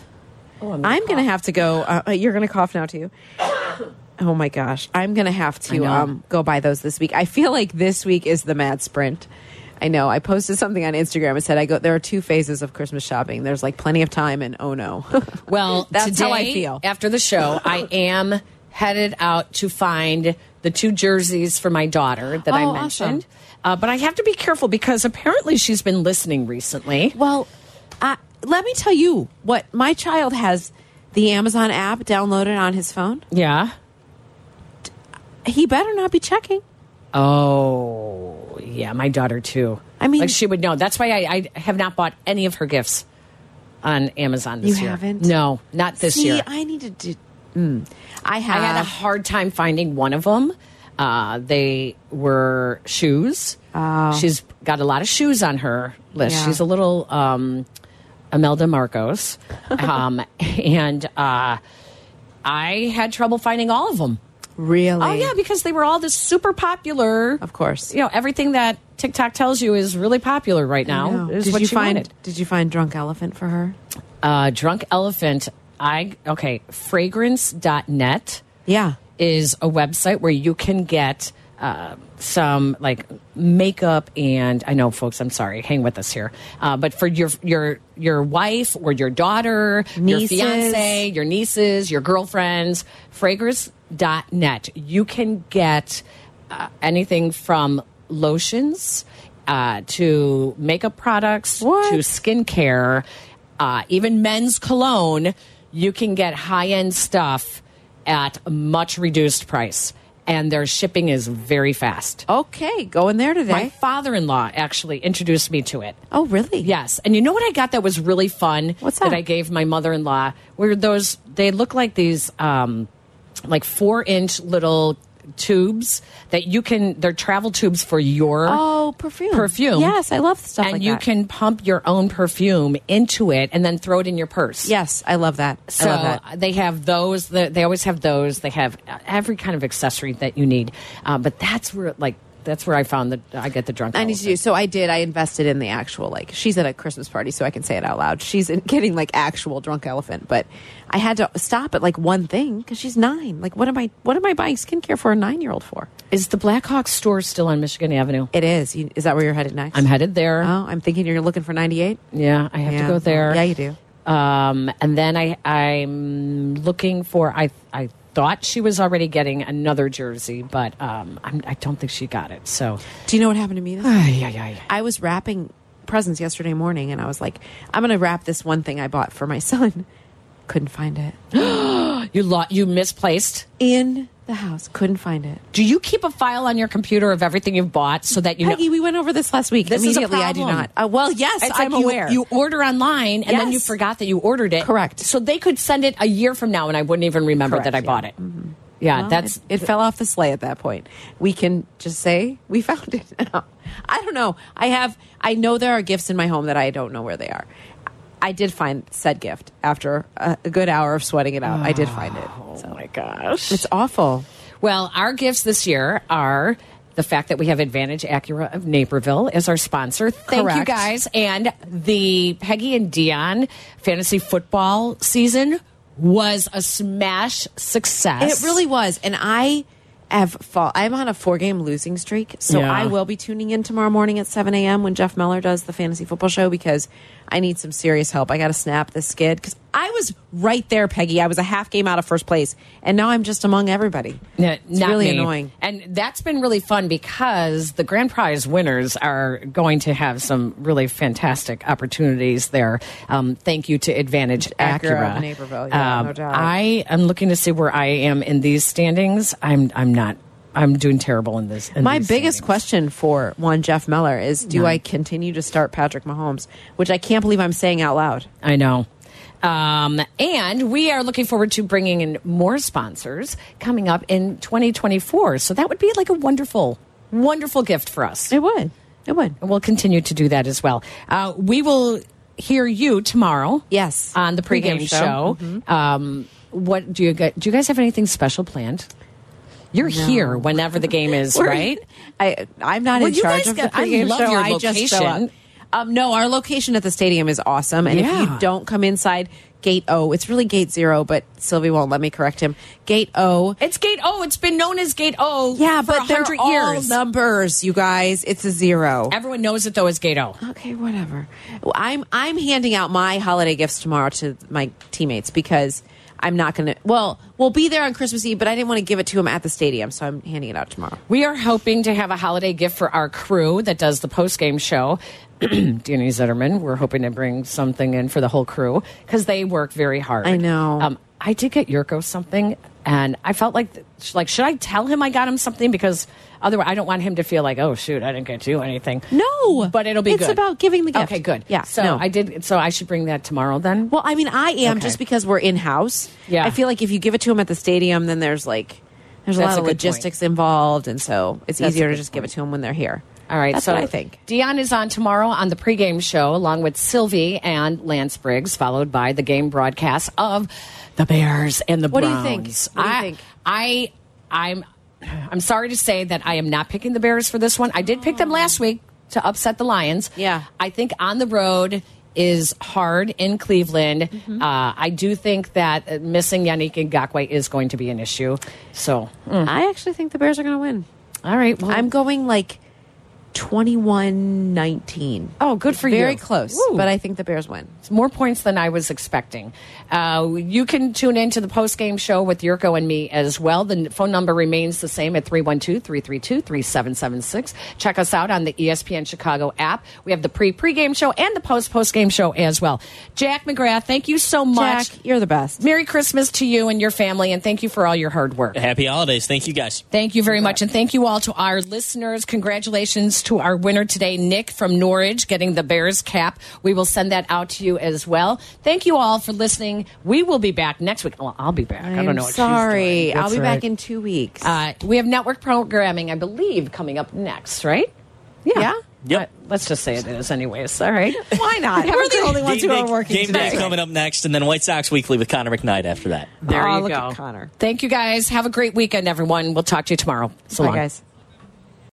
[SPEAKER 2] I'm going to have to go. Uh, you're going to cough now too. Oh my gosh, I'm going to have
[SPEAKER 4] I
[SPEAKER 2] to
[SPEAKER 4] know.
[SPEAKER 2] um, go buy those this week. I feel like this week is the mad sprint. I know. I posted something on Instagram. It said, "I go." There are two phases of Christmas shopping. There's like plenty of time, and oh no.
[SPEAKER 4] Well,
[SPEAKER 2] that's
[SPEAKER 4] today,
[SPEAKER 2] how I feel.
[SPEAKER 4] After the show, I am headed out to find the two jerseys for my daughter that I
[SPEAKER 2] Oh,
[SPEAKER 4] mentioned.
[SPEAKER 2] awesome.
[SPEAKER 4] Uh, but I have to be careful because apparently she's been listening recently.
[SPEAKER 2] Well, I, let me tell you what my child has the Amazon app downloaded on his phone.
[SPEAKER 4] Yeah.
[SPEAKER 2] He better not be checking.
[SPEAKER 4] Oh, yeah, my daughter too.
[SPEAKER 2] I mean-
[SPEAKER 4] like she would know. That's why I, I have not bought any of her gifts on Amazon this
[SPEAKER 2] You
[SPEAKER 4] year.
[SPEAKER 2] haven't?
[SPEAKER 4] No, not this
[SPEAKER 2] See,
[SPEAKER 4] year.
[SPEAKER 2] I need to do. Mm. I
[SPEAKER 4] I
[SPEAKER 2] have.
[SPEAKER 4] had a hard time finding one of them. Uh, they were shoes.
[SPEAKER 2] Oh.
[SPEAKER 4] She's got a lot of shoes on her list.
[SPEAKER 2] Yeah.
[SPEAKER 4] She's a little um, Imelda Marcos. um, and uh, I had trouble finding all of them.
[SPEAKER 2] really.
[SPEAKER 4] Oh, yeah, because they were all this super popular.
[SPEAKER 2] Of course.
[SPEAKER 4] You know, everything that TikTok tells you is really popular right now.
[SPEAKER 2] No.
[SPEAKER 4] Is
[SPEAKER 2] did
[SPEAKER 4] what
[SPEAKER 2] you
[SPEAKER 4] she
[SPEAKER 2] find?
[SPEAKER 4] wanted.
[SPEAKER 2] Did you find drunk elephant for her?
[SPEAKER 4] Uh, Drunk Elephant, I, okay, fragrance.net.
[SPEAKER 2] Yeah.
[SPEAKER 4] is a website where you can get uh, some like makeup and I know folks I'm sorry hang with us here uh, but for your your your wife or your daughter
[SPEAKER 2] Nieces.
[SPEAKER 4] your fiance your nieces your girlfriends fragrance.net you can get uh, anything from lotions uh, to makeup products
[SPEAKER 2] What?
[SPEAKER 4] to skincare uh, even men's cologne you can get high-end stuff at a much reduced price and their shipping is very fast
[SPEAKER 2] Okay, going there today.
[SPEAKER 4] my father-in-law actually introduced me to it
[SPEAKER 2] oh, really?
[SPEAKER 4] yes and you know what i got that was really fun
[SPEAKER 2] What's that?
[SPEAKER 4] i gave my mother-in-law were those they look like these um, like four inch little tubes that you can they're travel tubes for your
[SPEAKER 2] Oh, perfume.
[SPEAKER 4] perfume.
[SPEAKER 2] Yes, I love stuff
[SPEAKER 4] And
[SPEAKER 2] like
[SPEAKER 4] you
[SPEAKER 2] that.
[SPEAKER 4] can pump your own perfume into it and then throw it in your purse.
[SPEAKER 2] Yes, I love that.
[SPEAKER 4] So uh,
[SPEAKER 2] I love that.
[SPEAKER 4] they have those. the- They always have those. They have uh, every kind of accessory that you need. Uh, but that's where, like, that's where I found that I get the drunk.
[SPEAKER 2] I need to do so. I did. I invested in the actual like. She's at a Christmas party, so I can say it out loud. She's in, getting like actual drunk elephant, but I had to stop at like one thing because she's nine. Like, what am I? What am I buying skincare for a nine year old for?
[SPEAKER 4] Is the Blackhawk store still on Michigan Avenue?
[SPEAKER 2] It is. You, is that where you're headed next?
[SPEAKER 4] I'm headed there.
[SPEAKER 2] Oh, I'm thinking you're looking for 98.
[SPEAKER 4] Yeah, I have
[SPEAKER 2] Yeah,
[SPEAKER 4] to go there.
[SPEAKER 2] yeah, you do.
[SPEAKER 4] Um, and then I, I'm looking for. I, I thought she was already getting another jersey, but um, I'm, I don't think she got it. So
[SPEAKER 2] Do you know what happened to me? This
[SPEAKER 4] Ay, ay, ay.
[SPEAKER 2] I was wrapping presents yesterday morning, and I was like, I'm going to wrap this one thing I bought for my son. Couldn't find it
[SPEAKER 4] you lo- you misplaced.
[SPEAKER 2] in the house. Couldn't find it.
[SPEAKER 4] Do you keep a file on your computer of everything you've bought so that you know?
[SPEAKER 2] Peggy, we went over this last week.
[SPEAKER 4] This is a
[SPEAKER 2] Immediately, I do
[SPEAKER 4] problem.
[SPEAKER 2] not. Uh, well, yes,
[SPEAKER 4] It's
[SPEAKER 2] I'm
[SPEAKER 4] like you-
[SPEAKER 2] aware.
[SPEAKER 4] You, order online and then you
[SPEAKER 2] Yes.
[SPEAKER 4] forgot that you ordered it. Correct. So they could send it a year from now and I wouldn't even remember
[SPEAKER 2] Correct,
[SPEAKER 4] that I
[SPEAKER 2] yeah. Mm-hmm.
[SPEAKER 4] bought it. Yeah,
[SPEAKER 2] Well,
[SPEAKER 4] that's
[SPEAKER 2] it, it fell off the sleigh at that point. We can just say we found it. I don't know. I have. I know there are gifts in my home that I don't know where they are. I did find said gift after a, a good hour of sweating it out. I did find it. Oh
[SPEAKER 4] my gosh,
[SPEAKER 2] it's awful.
[SPEAKER 4] Well, our gifts this year are the fact that we have Advantage Acura of Naperville as our sponsor. Thank you
[SPEAKER 2] Correct.
[SPEAKER 4] guys. And the Peggy and Dion fantasy football season was a smash success.
[SPEAKER 2] It really was, and I have fall. I'm on a four game losing streak, so
[SPEAKER 4] Yeah.
[SPEAKER 2] I will be tuning in tomorrow morning at 7 a.m. when Jeff Meller does the fantasy football show because I need some serious help. I got to snap this skid because I was right there, Peggy. I was a half game out of first place, and now I'm just among everybody.
[SPEAKER 4] No,
[SPEAKER 2] it's
[SPEAKER 4] not
[SPEAKER 2] really
[SPEAKER 4] me.
[SPEAKER 2] annoying.
[SPEAKER 4] And that's been really fun because the grand prize winners are going to have some really fantastic opportunities there. Um, thank you to Advantage
[SPEAKER 2] Acura
[SPEAKER 4] Acura.
[SPEAKER 2] of Naperville, yeah,
[SPEAKER 4] Um,
[SPEAKER 2] no doubt.
[SPEAKER 4] I am looking to see where I am in these standings. I'm I'm not. I'm doing terrible in this. in
[SPEAKER 2] My
[SPEAKER 4] these
[SPEAKER 2] biggest question for one Jeff Meller is: Do I continue to start Patrick Mahomes? Which I can't believe I'm saying out loud.
[SPEAKER 4] I know. Um, and we are looking forward to bringing in more sponsors coming up in 2024. So that would be like a wonderful, wonderful gift for us.
[SPEAKER 2] It would. It would.
[SPEAKER 4] And we'll continue to do that as well. Uh, we will hear you tomorrow.
[SPEAKER 2] Yes.
[SPEAKER 4] On the pregame,
[SPEAKER 2] Pregame
[SPEAKER 4] show.
[SPEAKER 2] show. Mm-hmm.
[SPEAKER 4] Um, what do you get? Do you guys have anything special planned? You're here whenever the game is,
[SPEAKER 2] We're-
[SPEAKER 4] right?
[SPEAKER 2] I I'm not
[SPEAKER 4] Well,
[SPEAKER 2] in
[SPEAKER 4] you
[SPEAKER 2] charge
[SPEAKER 4] guys
[SPEAKER 2] of
[SPEAKER 4] got-
[SPEAKER 2] the
[SPEAKER 4] I
[SPEAKER 2] pregame
[SPEAKER 4] love
[SPEAKER 2] show.
[SPEAKER 4] your
[SPEAKER 2] I just show up.
[SPEAKER 4] location.
[SPEAKER 2] Um, no, our location at the stadium is awesome, and if
[SPEAKER 4] Yeah.
[SPEAKER 2] you don't come inside gate O, it's really gate zero, but Sylvie won't let me correct him. Gate O.
[SPEAKER 4] It's Gate O. It's been known as Gate O.
[SPEAKER 2] Yeah,
[SPEAKER 4] for
[SPEAKER 2] but they're
[SPEAKER 4] 100
[SPEAKER 2] all
[SPEAKER 4] years.
[SPEAKER 2] numbers, you guys. It's a zero.
[SPEAKER 4] Everyone knows it though as Gate O.
[SPEAKER 2] Okay, whatever. Well, I'm I'm handing out my holiday gifts tomorrow to my teammates because I'm not going to. Well, we'll be there on Christmas Eve, but I didn't want to give it to them at the stadium, so I'm handing it out tomorrow.
[SPEAKER 4] We are hoping to have a holiday gift for our crew that does the post game show. Danny Zetterman, we're hoping to bring something in for the whole crew because they work very hard.
[SPEAKER 2] I know.
[SPEAKER 4] Um, I did get Yurko something, and I felt like sh- like should I tell him I got him something because otherwise I don't want him to feel like oh shoot I didn't get you anything.
[SPEAKER 2] No,
[SPEAKER 4] but it'll be
[SPEAKER 2] it's
[SPEAKER 4] good.
[SPEAKER 2] about giving the gift.
[SPEAKER 4] Okay, good.
[SPEAKER 2] Yeah,
[SPEAKER 4] So
[SPEAKER 2] no.
[SPEAKER 4] I did. So I should bring that tomorrow then.
[SPEAKER 2] Well, I mean, I am
[SPEAKER 4] Okay.
[SPEAKER 2] just because we're in house.
[SPEAKER 4] Yeah.
[SPEAKER 2] I feel like if you give it to him at the stadium, then there's like there's a lot
[SPEAKER 4] That's a
[SPEAKER 2] of
[SPEAKER 4] good point.
[SPEAKER 2] logistics involved, and so it's
[SPEAKER 4] That's a
[SPEAKER 2] easier to
[SPEAKER 4] good
[SPEAKER 2] just give it to him when they're here.
[SPEAKER 4] All right,
[SPEAKER 2] that's
[SPEAKER 4] so
[SPEAKER 2] what I think.
[SPEAKER 4] Dion is on tomorrow on the pregame show, along with Sylvie and Lance Briggs, followed by the game broadcast of the Bears and the
[SPEAKER 2] What do you
[SPEAKER 4] Browns.
[SPEAKER 2] think? What do you
[SPEAKER 4] I,
[SPEAKER 2] think?
[SPEAKER 4] I, I'm, I'm sorry to say that I am not picking the Bears for this one. I did pick them last week to upset the Lions.
[SPEAKER 2] Oh. Yeah.
[SPEAKER 4] I think on the road is hard in Cleveland.
[SPEAKER 2] Mm-hmm.
[SPEAKER 4] Uh, I do think that uh, missing Yannick Ngakwe is going to be an issue. So, mm.
[SPEAKER 2] I actually think the Bears are going to win.
[SPEAKER 4] all right, well,
[SPEAKER 2] I'm going like 21-19.
[SPEAKER 4] Oh, good for
[SPEAKER 2] Very
[SPEAKER 4] you.
[SPEAKER 2] Very close,
[SPEAKER 4] Ooh.
[SPEAKER 2] but I think the Bears win.
[SPEAKER 4] It's more points than I was expecting. Uh, you can tune in to the post game show with Yurko and me as well. The n- phone number remains the same at 312 332 3776. Check us out on the E ESPN Chicago app. We have the pre pregame show and the post post game show as well. Jack McGrath, thank you so much.
[SPEAKER 2] Jack, you're the best.
[SPEAKER 4] Merry Christmas to you and your family, and thank you for all your hard work.
[SPEAKER 3] Happy holidays. Thank you guys.
[SPEAKER 4] Thank you very much. And thank you all to our listeners. Congratulations to our winner today, Nick from Norwich, getting the Bears cap. We will send that out to you as well. Thank you all for listening. We will be back next week. Well, I'll be back. I'm I do
[SPEAKER 2] I'm
[SPEAKER 4] not know. What she's
[SPEAKER 2] sorry.
[SPEAKER 4] doing.
[SPEAKER 2] I'll
[SPEAKER 4] That's
[SPEAKER 2] be
[SPEAKER 4] all right.
[SPEAKER 2] back in two weeks.
[SPEAKER 4] Uh, we have network programming, I believe, coming up next, right? Yeah. Yep. let's just say it is, anyways. All right.
[SPEAKER 2] Why not? We're the only ones who
[SPEAKER 3] Game
[SPEAKER 2] are
[SPEAKER 3] day-
[SPEAKER 2] working
[SPEAKER 3] Game
[SPEAKER 2] today.
[SPEAKER 3] day's coming up next, and then White Sox Weekly with Connor McKnight after that.
[SPEAKER 4] There
[SPEAKER 2] Aw,
[SPEAKER 4] you
[SPEAKER 2] look
[SPEAKER 4] go.
[SPEAKER 2] at Connor.
[SPEAKER 4] Thank you guys. Have a great weekend, everyone. We'll talk to you tomorrow. So
[SPEAKER 2] Bye,
[SPEAKER 4] long.
[SPEAKER 2] guys.